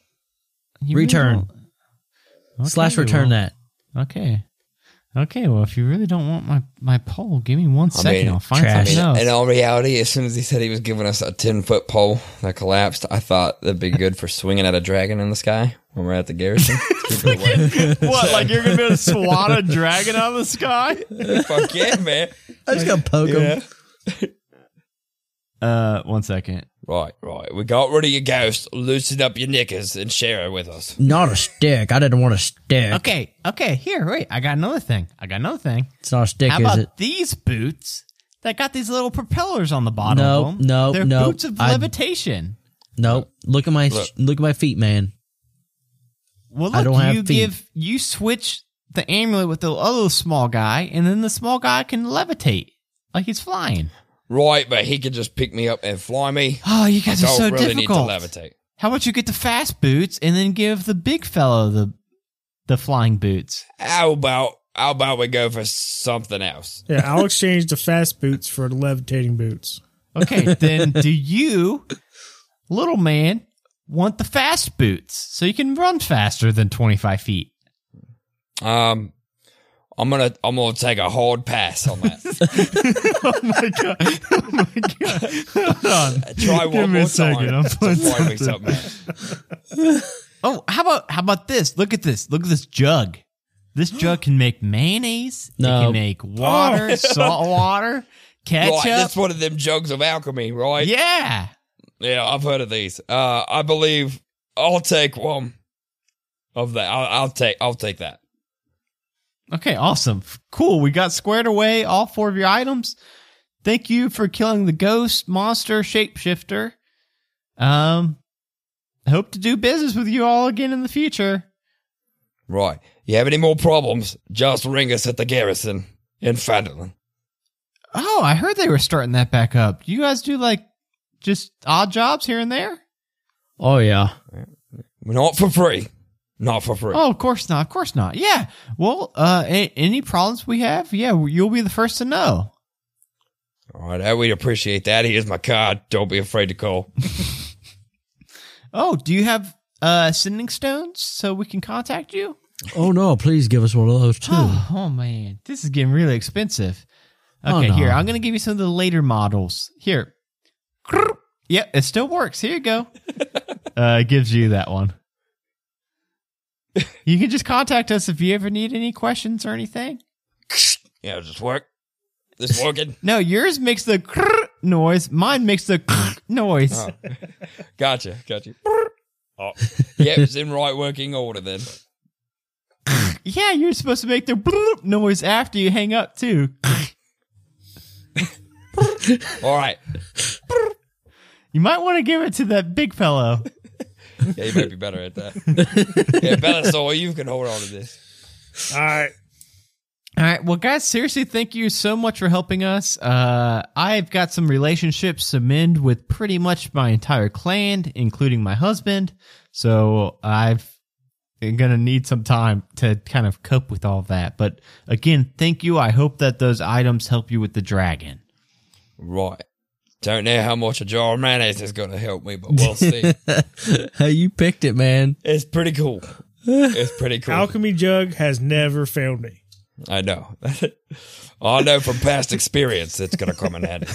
You really
Return
don't- Okay,
slash return
well.
that.
Okay. Okay, well, if you really don't want my, my poll, give me one second.
mean,
I'll find
trash.
something else.
In all reality, as soon as he said he was giving us a 10 foot pole that collapsed, I thought that'd be good for swinging at a dragon in the sky when we're at the garrison. Keep it away.
what, like you're going to swat a dragon out of the sky?
Fuck yeah, man.
I just gotta poke him.
Uh, one second.
Right, right. We got rid of your ghost, loosen up your knickers, and share it with us.
Not a stick. I didn't want a stick.
Okay, okay, here, wait. I got another thing. I got another thing.
It's not a stick,
How
is
about
it?
these boots that got these little propellers on the bottom
No,
of them?
no,
They're
no,
boots of
I-
levitation.
Nope. Look at my look, at my feet, man.
Well, look,
I don't have
you
feet.
give, you switch the amulet with the other small guy, and then the small guy can levitate like he's flying.
Right, but he could just pick me up and fly me.
Oh, you guys are
Don't
so
really
difficult.
need to levitate.
How about you get the fast boots and then give the big fellow the the flying boots?
How about how about we go for something else?
Yeah, I'll exchange the fast boots for the levitating boots.
Okay, then do you, little man, want the fast boots so you can run faster than twenty five feet?
Um, I'm gonna I'm gonna take a hard pass on that. Try
Give
one
me a
more
second,
time.
I'm
to
putting
fly me
something.
something else.
Oh, how about how about this? Look at this. Look at this jug. This jug can make mayonnaise. It
No.
can make water, salt water, ketchup.
Right, that's one of them jugs of alchemy, right?
yeah.
Yeah, I've heard of these. Uh, I believe I'll take one of that. I'll, I'll take I'll take that.
Okay, awesome. F- Cool. We got squared away all four of your items. Thank you for killing the ghost monster shapeshifter. Um I hope to do business with you all again in the future.
Right. You have any more problems? Just ring us at the garrison in Fandolin.
Oh, I heard they were starting that back up. You guys do like just odd jobs here and there?
Oh yeah.
Not for free. Not for free.
Oh, of course not. Of course not. Yeah. Well, uh, a- any problems we have, yeah, you'll be the first to know.
All right, I- we appreciate that. Here's my card. Don't be afraid to call.
Oh, do you have uh sending stones so we can contact you?
Oh no! Please give us one of those too.
Oh, oh, man, this is getting really expensive. Okay,
no.
here I'm gonna give you some of the later models. Here. Yep, it still works. Here you go. uh, it gives you that one. You can just contact us if you ever need any questions or anything.
Yeah, does this work? This working?
No, yours makes the noise. Mine makes the noise.
Gotcha, gotcha. Oh, yep, it's in right working order then.
Yeah, you're supposed to make the bloop noise after you hang up too.
All right.
You might want to give it to that big fellow.
Yeah, you might be better at that. yeah, Bellasaur, you can hold on to this.
All right.
All right, well, guys, seriously, thank you so much for helping us. Uh, I've got some relationships to mend with pretty much my entire clan, including my husband. So I've I'm gonna need some time to kind of cope with all that. But again, thank you. I hope that those items help you with the dragon.
Right. Don't know how much a jar of mayonnaise is going to help me, but we'll see.
hey, you picked it, man.
it's pretty cool. It's pretty cool.
Alchemy jug has never failed me.
I know. I know from past experience it's going to come in handy.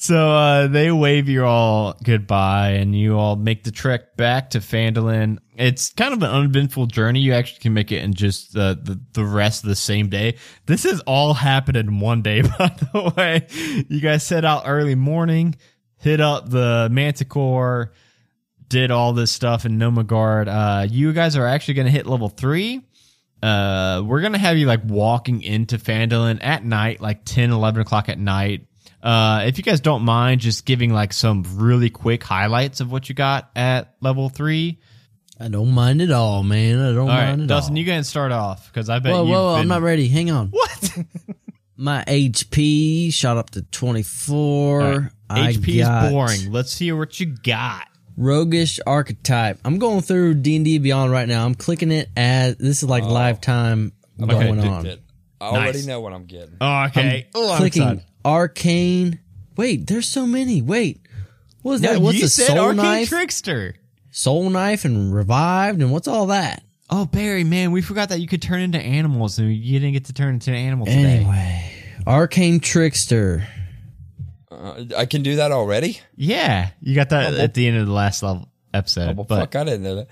So uh, they wave you all goodbye, and you all make the trek back to Fandolin. It's kind of an uneventful journey. You actually can make it in just uh, the the rest of the same day. This has all happened in one day, by the way. You guys set out early morning, hit up the Manticore, did all this stuff in Nomagard. Uh, you guys are actually going to hit level three uh we're gonna have you like walking into fandolin at night like 10 11 o'clock at night uh if you guys don't mind just giving like some really quick highlights of what you got at level three
I don't mind at all, man. I don't
all
mind
right
at
dustin
all.
you can start off because i bet
whoa,
you've
whoa!
been-
I'm not ready. Hang on.
what
My HP shot up to twenty four.
All right.
I
hp
got
is boring let's hear what you got
Roguish archetype. I'm going through D and D Beyond right now. I'm clicking it as this is like
Oh.
live time going on.
Addicted. I already
Nice.
know what I'm getting.
oh okay oh, I'm
clicking
excited.
arcane. Wait, there's so many. Wait, what was
No,
that? What's
you
a
said
soul
arcane
knife?
trickster
soul knife and revived and what's all that?
Oh, Barry, man, we forgot that you could turn into animals, and you didn't get to turn into an animal today.
Anyway, arcane trickster.
Uh, I can do that already?
yeah you got that at the end of the last level episode
Well,
but
fuck, I didn't know that.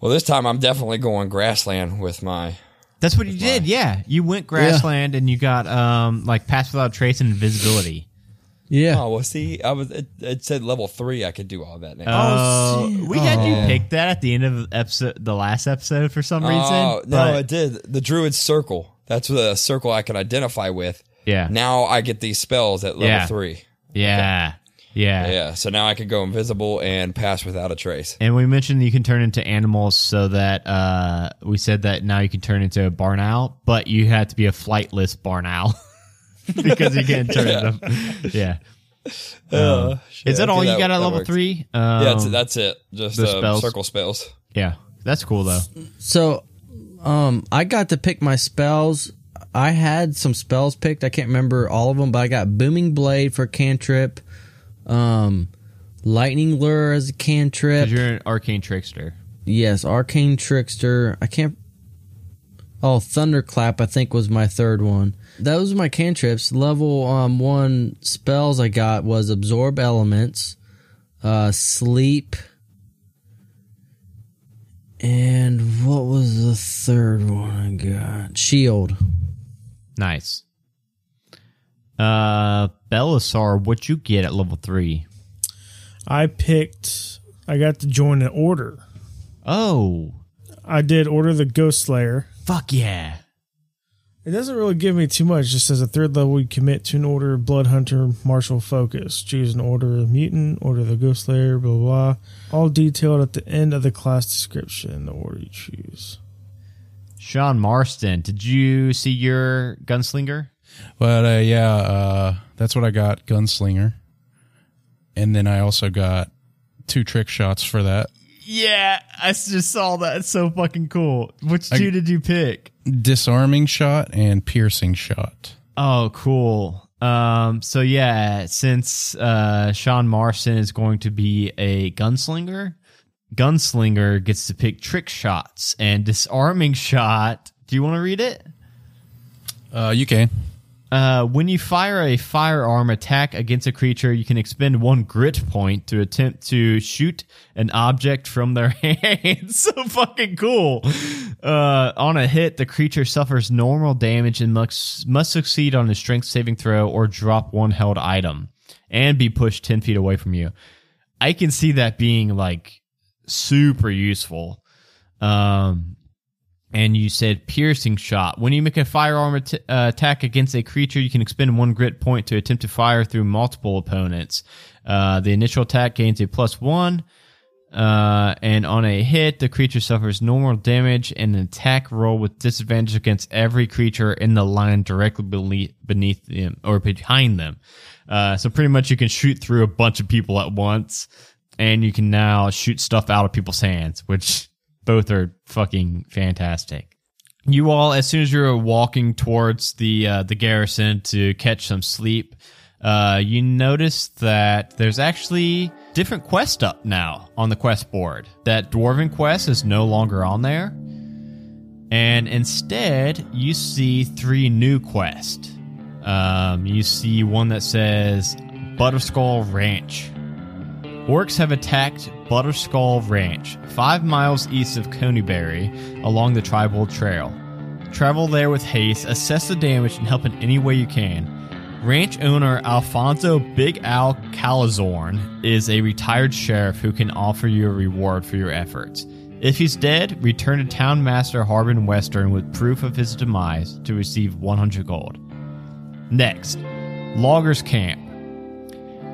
Well, this time I'm definitely going grassland with my.
that's what you
You did, yeah. You went grassland, and you got um like pass without trace and invisibility.
Yeah.
Oh well, see, I was it, it said level three. I could do all that now.
Uh,
Oh,
shit.
we had you
Oh.
pick that at the end of the episode, the last episode for some reason.
Oh, no,
but-
it did. The druid circle. That's the circle I can identify with.
yeah,
Now I get these spells at level
Yeah.
three.
yeah, yeah,
Yeah, so now I can go invisible and pass without a trace.
And we mentioned you can turn into animals, so that uh, we said that now you can turn into a barn owl, but you had to be a flightless barn owl.
because you can't turn them. Yeah.
Oh,
Uh, shit,
Oh. Is that
okay,
all you got at
that
level
works.
three?
Yeah, that's,
Um,
that's it. Just
the
uh,
spells.
circle spells.
yeah. That's cool though.
So, um, I got to pick my spells. I had some spells picked. I can't remember all of them, but I got Booming Blade for cantrip, um, Lightning Lure as a cantrip.
Because you're an arcane trickster.
Yes, Arcane Trickster. I can't. Oh, Thunderclap, I think was my third one. Those were my cantrips. Level um, one spells I got was Absorb Elements, uh, Sleep, and what was the third one I got? Shield.
Nice. Uh, Belisar, what you get at level three?
I picked. I got to join an order.
Oh,
I did order the Ghost Slayer.
fuck yeah!
It doesn't really give me too much. It just says a third level, you commit to an order of Blood Hunter, Martial Focus. Choose an order of Mutant, order of the Ghost Slayer, blah, blah, blah. All detailed at the end of the class description, the order you choose.
Sean Marston, did you see your gunslinger?
But uh, yeah, uh, that's what I got, gunslinger, and then I also got two trick shots for that.
Yeah, I just saw that. It's so fucking cool. Which
I-
two did you pick?
disarming shot and piercing shot.
Oh, cool. Um, so yeah, since uh, Sean Marston is going to be a gunslinger, gunslinger gets to pick trick shots and disarming shot. Do you want to read it?
Uh, you can.
Uh, when you fire a firearm attack against a creature, you can expend one grit point to attempt to shoot an object from their hand. so fucking cool. Uh, on a hit, the creature suffers normal damage and must, must succeed on a strength saving throw or drop one held item and be pushed 10 feet away from you. I can see that being like super useful. Um, and you said piercing shot. When you make a firearm at- uh, attack against a creature, you can expend one grit point to attempt to fire through multiple opponents. Uh, the initial attack gains a plus one, uh, and on a hit, the creature suffers normal damage and an attack roll with disadvantage against every creature in the line directly beneath, beneath them or behind them. Uh, so pretty much, you can shoot through a bunch of people at once, and you can now shoot stuff out of people's hands, which both are fucking fantastic. You all, as soon as you're walking towards the uh, the garrison to catch some sleep, uh, you notice that there's actually different quests up now on the quest board. That dwarven quest is no longer on there, and instead you see three new quests. Um, you see one that says Butterskull Ranch. Orcs have attacked Butterskull Ranch, five miles east of Coneyberry, along the Tribal Trail. Travel there with haste, assess the damage, and help in any way you can. Ranch owner Alfonso Big Al Calazorn is a retired sheriff who can offer you a reward for your efforts. If he's dead, return to Town Master Harbin Western with proof of his demise to receive 100 gold. Next, Loggers Camp.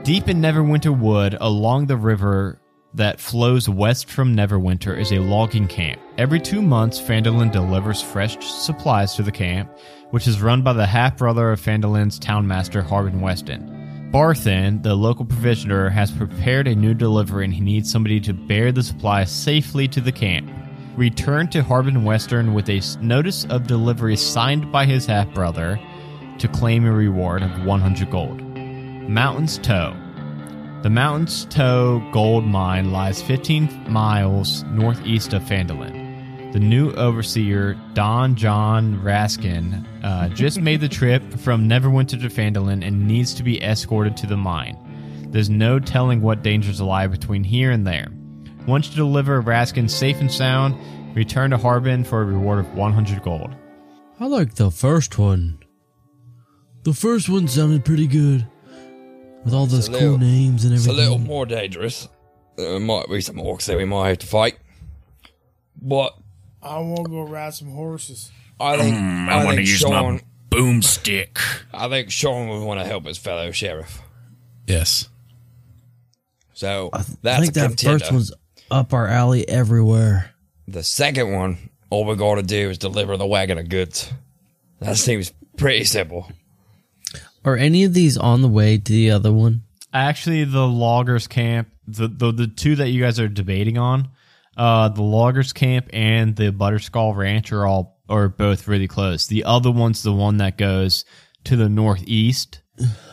Deep in Neverwinter Wood, along the river that flows west from Neverwinter, is a logging camp. Every two months, Fandolin delivers fresh supplies to the camp, which is run by the half brother of Fandolin's townmaster, Harbin Weston. Barthen, the local provisioner, has prepared a new delivery and he needs somebody to bear the supplies safely to the camp. Return to Harbin Western with a s- notice of delivery signed by his half brother to claim a reward of 100 gold. Mountain's Toe. The Mountain's Toe gold mine lies 15 miles northeast of Fandolin. The new overseer, Don John Raskin, uh, just made the trip from Neverwinter to Fandolin and needs to be escorted to the mine. There's no telling what dangers lie between here and there. Once you deliver Raskin safe and sound, return to Harbin for a reward of 100 gold.
I like the first one. The first one sounded pretty good. With all those
a
cool
little-
names and
It's a
everything.
little more dangerous. There might be some orcs that we might have to fight, but
I want to go ride some horses.
I think I,
Mm, I want to
think
use
Sean.
my boomstick.
I think Sean would want to help his fellow sheriff.
Yes.
So
I
that's
think
a
that
contender.
first one's up our alley everywhere.
The second one, all we got to do is deliver the wagon of goods. That seems pretty simple.
Are any of these on the way to the other one?
Actually, the loggers camp, the the, the two that you guys are debating on, uh, the loggers camp and the Butterskull Ranch are all are both really close. The other one's the one that goes to the northeast.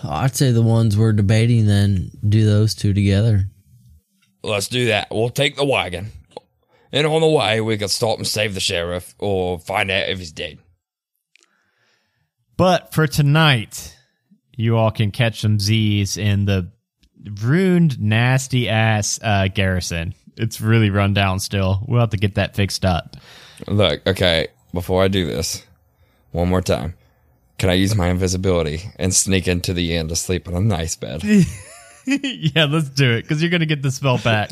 I'd say the ones we're debating. Then do those two together.
Let's do that. We'll take the wagon. And on the way, we can stop and save the sheriff or find out if he's dead.
But for tonight, you all can catch some Z's in the ruined, nasty ass uh, garrison. It's really run down still. We'll have to get that fixed up.
Look, okay, before I do this, one more time. Can I use my invisibility and sneak into the inn to sleep in a nice bed?
yeah, let's do it because you're gonna get the spell back.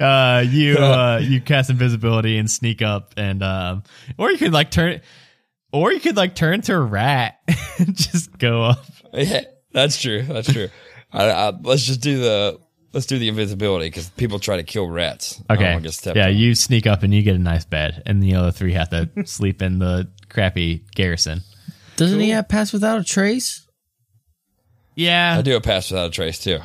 uh, you uh, you cast invisibility and sneak up, and um, or you could like turn, or you could like turn to a rat and just go up.
yeah, that's true. That's true. I, I, let's just do the let's do the invisibility because people try to kill rats. I don't
Okay,
wanna get stepped
Oh, yeah,
on.
you sneak up and you get a nice bed, and the other three have to sleep in the crappy garrison.
Doesn't he have pass without a trace?
Yeah,
I do a pass without a trace too.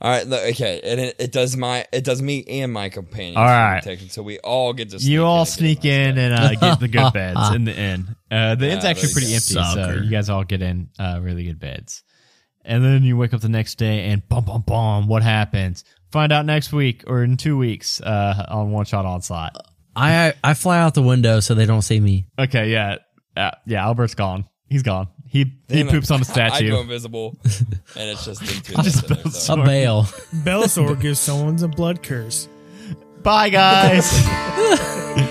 All right, look, okay, and it, it does my it does me and my companions.
All right.
protection, so we all get to. Sneak
you all
and get a
sneak
nice
in
bed.
and uh, get the good beds in the inn. Uh, the inn's
Ah,
actually
there
pretty
you
empty, so
Sucker.
you guys all get in uh, really good beds. And then you wake up the next day and bum bum bum. What happens? Find out next week or in two weeks uh, on One Shot Onslaught.
I I fly out the window so they don't see me.
Okay, yeah, uh, yeah. Albert's gone. He's gone. He he
Damn it.
poops on a
I go
statue.
invisible, and it's just them two. that are there, so-
A bail.
Belisor gives someone a blood curse.
Bye, guys.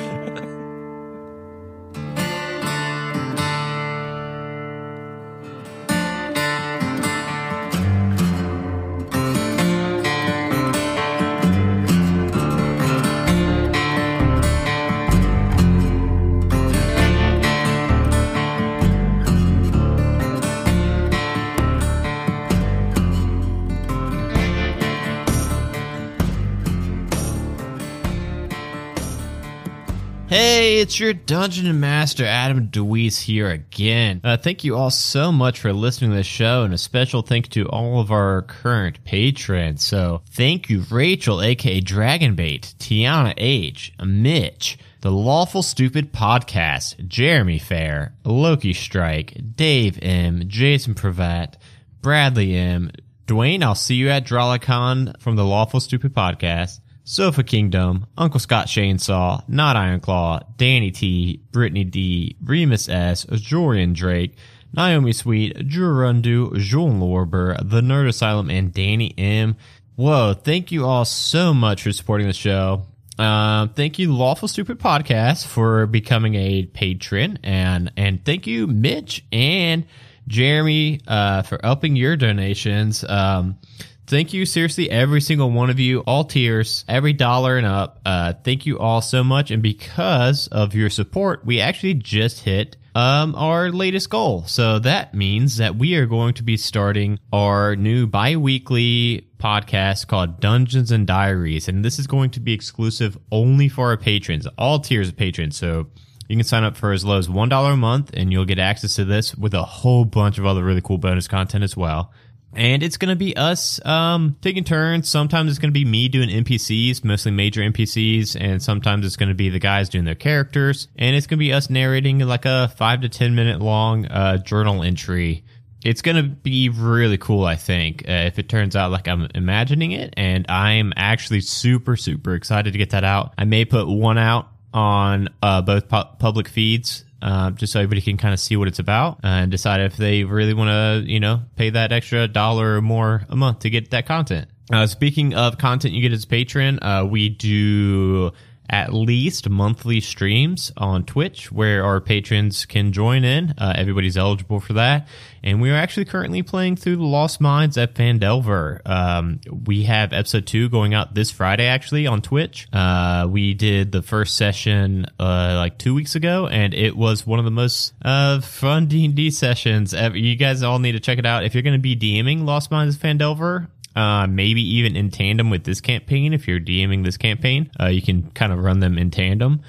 Hey, it's your Dungeon and Master Adam DeWeese here again. Uh, thank you all so much for listening to the show, and a special thank you to all of our current patrons. So, thank you, Rachel, aka Dragonbait, Tiana H, Mitch, The Lawful Stupid Podcast, Jeremy Fair, Loki Strike, Dave M, Jason Pravat, Bradley M, Dwayne, I'll see you at Drawlicon from the Lawful Stupid Podcast. Sofa Kingdom, Uncle Scott Chainsaw, Not Iron Claw, Danny T, Brittany D, Remus S, Jorian Drake, Naomi Sweet, Drew Rundu, Jean Lorber, The Nerd Asylum, and Danny M. Whoa, thank you all so much for supporting the show. Um, thank you, Lawful Stupid Podcast, for becoming a patron, and and thank you, Mitch and Jeremy, uh, for upping your donations. Um, Thank you, seriously, every single one of you, all tiers, every dollar and up. Uh, thank you all so much. And because of your support, we actually just hit um, our latest goal. So that means that we are going to be starting our new bi weekly podcast called Dungeons and Diaries. And this is going to be exclusive only for our patrons, all tiers of patrons. So you can sign up for as low as $1 a month, and you'll get access to this with a whole bunch of other really cool bonus content as well. And it's going to be us um, taking turns. Sometimes it's going to be me doing NPCs, mostly major NPCs, and sometimes it's going to be the guys doing their characters. And it's going to be us narrating like a five to 10 minute long uh, journal entry. It's going to be really cool, I think, uh, if it turns out like I'm imagining it. And I'm actually super, super excited to get that out. I may put one out on uh, both pu- public feeds uh, just so everybody can kind of see what it's about and decide if they really want to, you know, pay that extra dollar or more a month to get that content. Uh, speaking of content you get as a patron, uh, we do at least monthly streams on Twitch where our patrons can join in. Uh, everybody's eligible for that. And we are actually currently playing through the Lost Minds at Fandelver. Um, we have episode two going out this Friday, actually, on Twitch. Uh, we did the first session uh, like two weeks ago, and it was one of the most uh, fun D&D sessions ever. You guys all need to check it out. If you're going to be DMing Lost Minds at Fandelver, uh, maybe even in tandem with this campaign. If you're DMing this campaign, uh, you can kind of run them in tandem.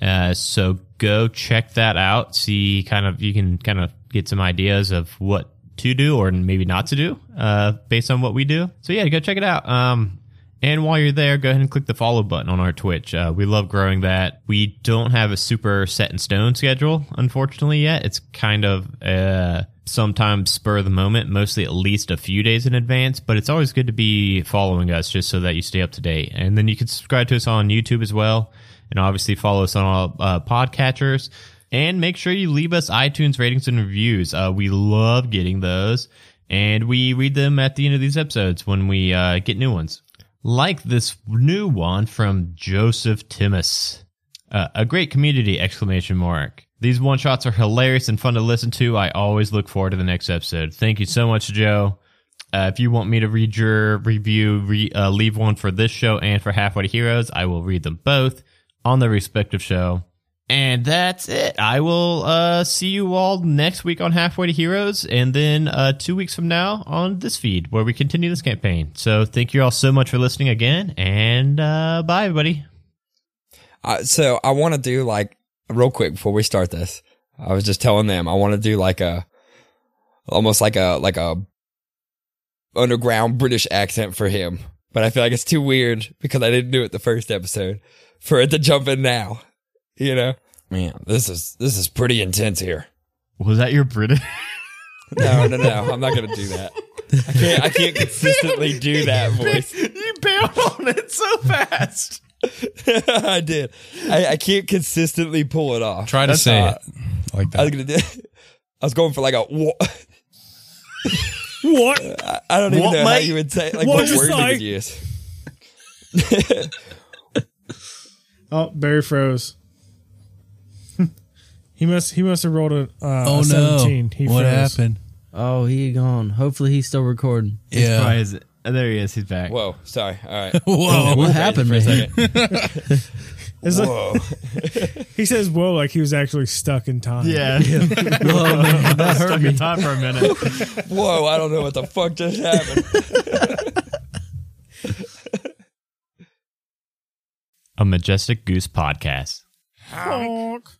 Uh, so go check that out. See, kind of, you can kind of get some ideas of what to do or maybe not to do uh, based on what we do. So yeah, go check it out. Um, and while you're there, go ahead and click the follow button on our Twitch. Uh, we love growing that. We don't have a super set in stone schedule, unfortunately, yet. It's kind of uh, sometimes spur of the moment, mostly at least a few days in advance, but it's always good to be following us just so that you stay up to date. And then you can subscribe to us on YouTube as well. And obviously, follow us on all uh, podcatchers. And make sure you leave us iTunes ratings and reviews. Uh, we love getting those. And we read them at the end of these episodes when we uh, get new ones like this new one from Joseph Timmis. Uh, a great community! Exclamation mark. These one shots are hilarious and fun to listen to. I always look forward to the next episode. Thank you so much, Joe. Uh, if you want me to read your review, re, uh, leave one for this show and for Halfway to Heroes. I will read them both on the respective show. And that's it. I will uh, see you all next week on Halfway to Heroes, and then uh, two weeks from now on this feed where we continue this campaign. So thank you all so much for listening again, and uh, bye, everybody.
I, so I want to do like real quick before we start this. I was just telling them I want to do like a almost like a like a underground British accent for him, but I feel like it's too weird because I didn't do it the first episode for it to jump in now. You know, man, this is this is pretty intense here.
Was that your British?
No, no, no, I'm not gonna do that. I can't. I can't consistently do that voice.
you bailed on it so fast.
I did. I, I can't consistently pull it off.
Try to
That's
say
how I-
it like
I was
that.
gonna do. I was going for like a what?
What?
I, I don't even
What,
know how
mate?
you would say like
What
what,
you
word you
say?
would use.
Oh, Barry froze. he must. He must have rolled a, uh,
Oh
a
no!
seventeen. He
what
froze.
happened?
Oh, he gone. Hopefully he's still recording.
Yeah.
Is Oh, there he is. He's back.
Whoa, sorry. All right.
Whoa!
What happened, man?
It's like-
Whoa.
he says, "Whoa!" Like he was actually stuck in time.
Yeah, that
Whoa, man, that hurt
stuck
me.
in time for a minute.
Whoa, I don't know what the fuck just happened.
a majestic goose podcast.
Honk.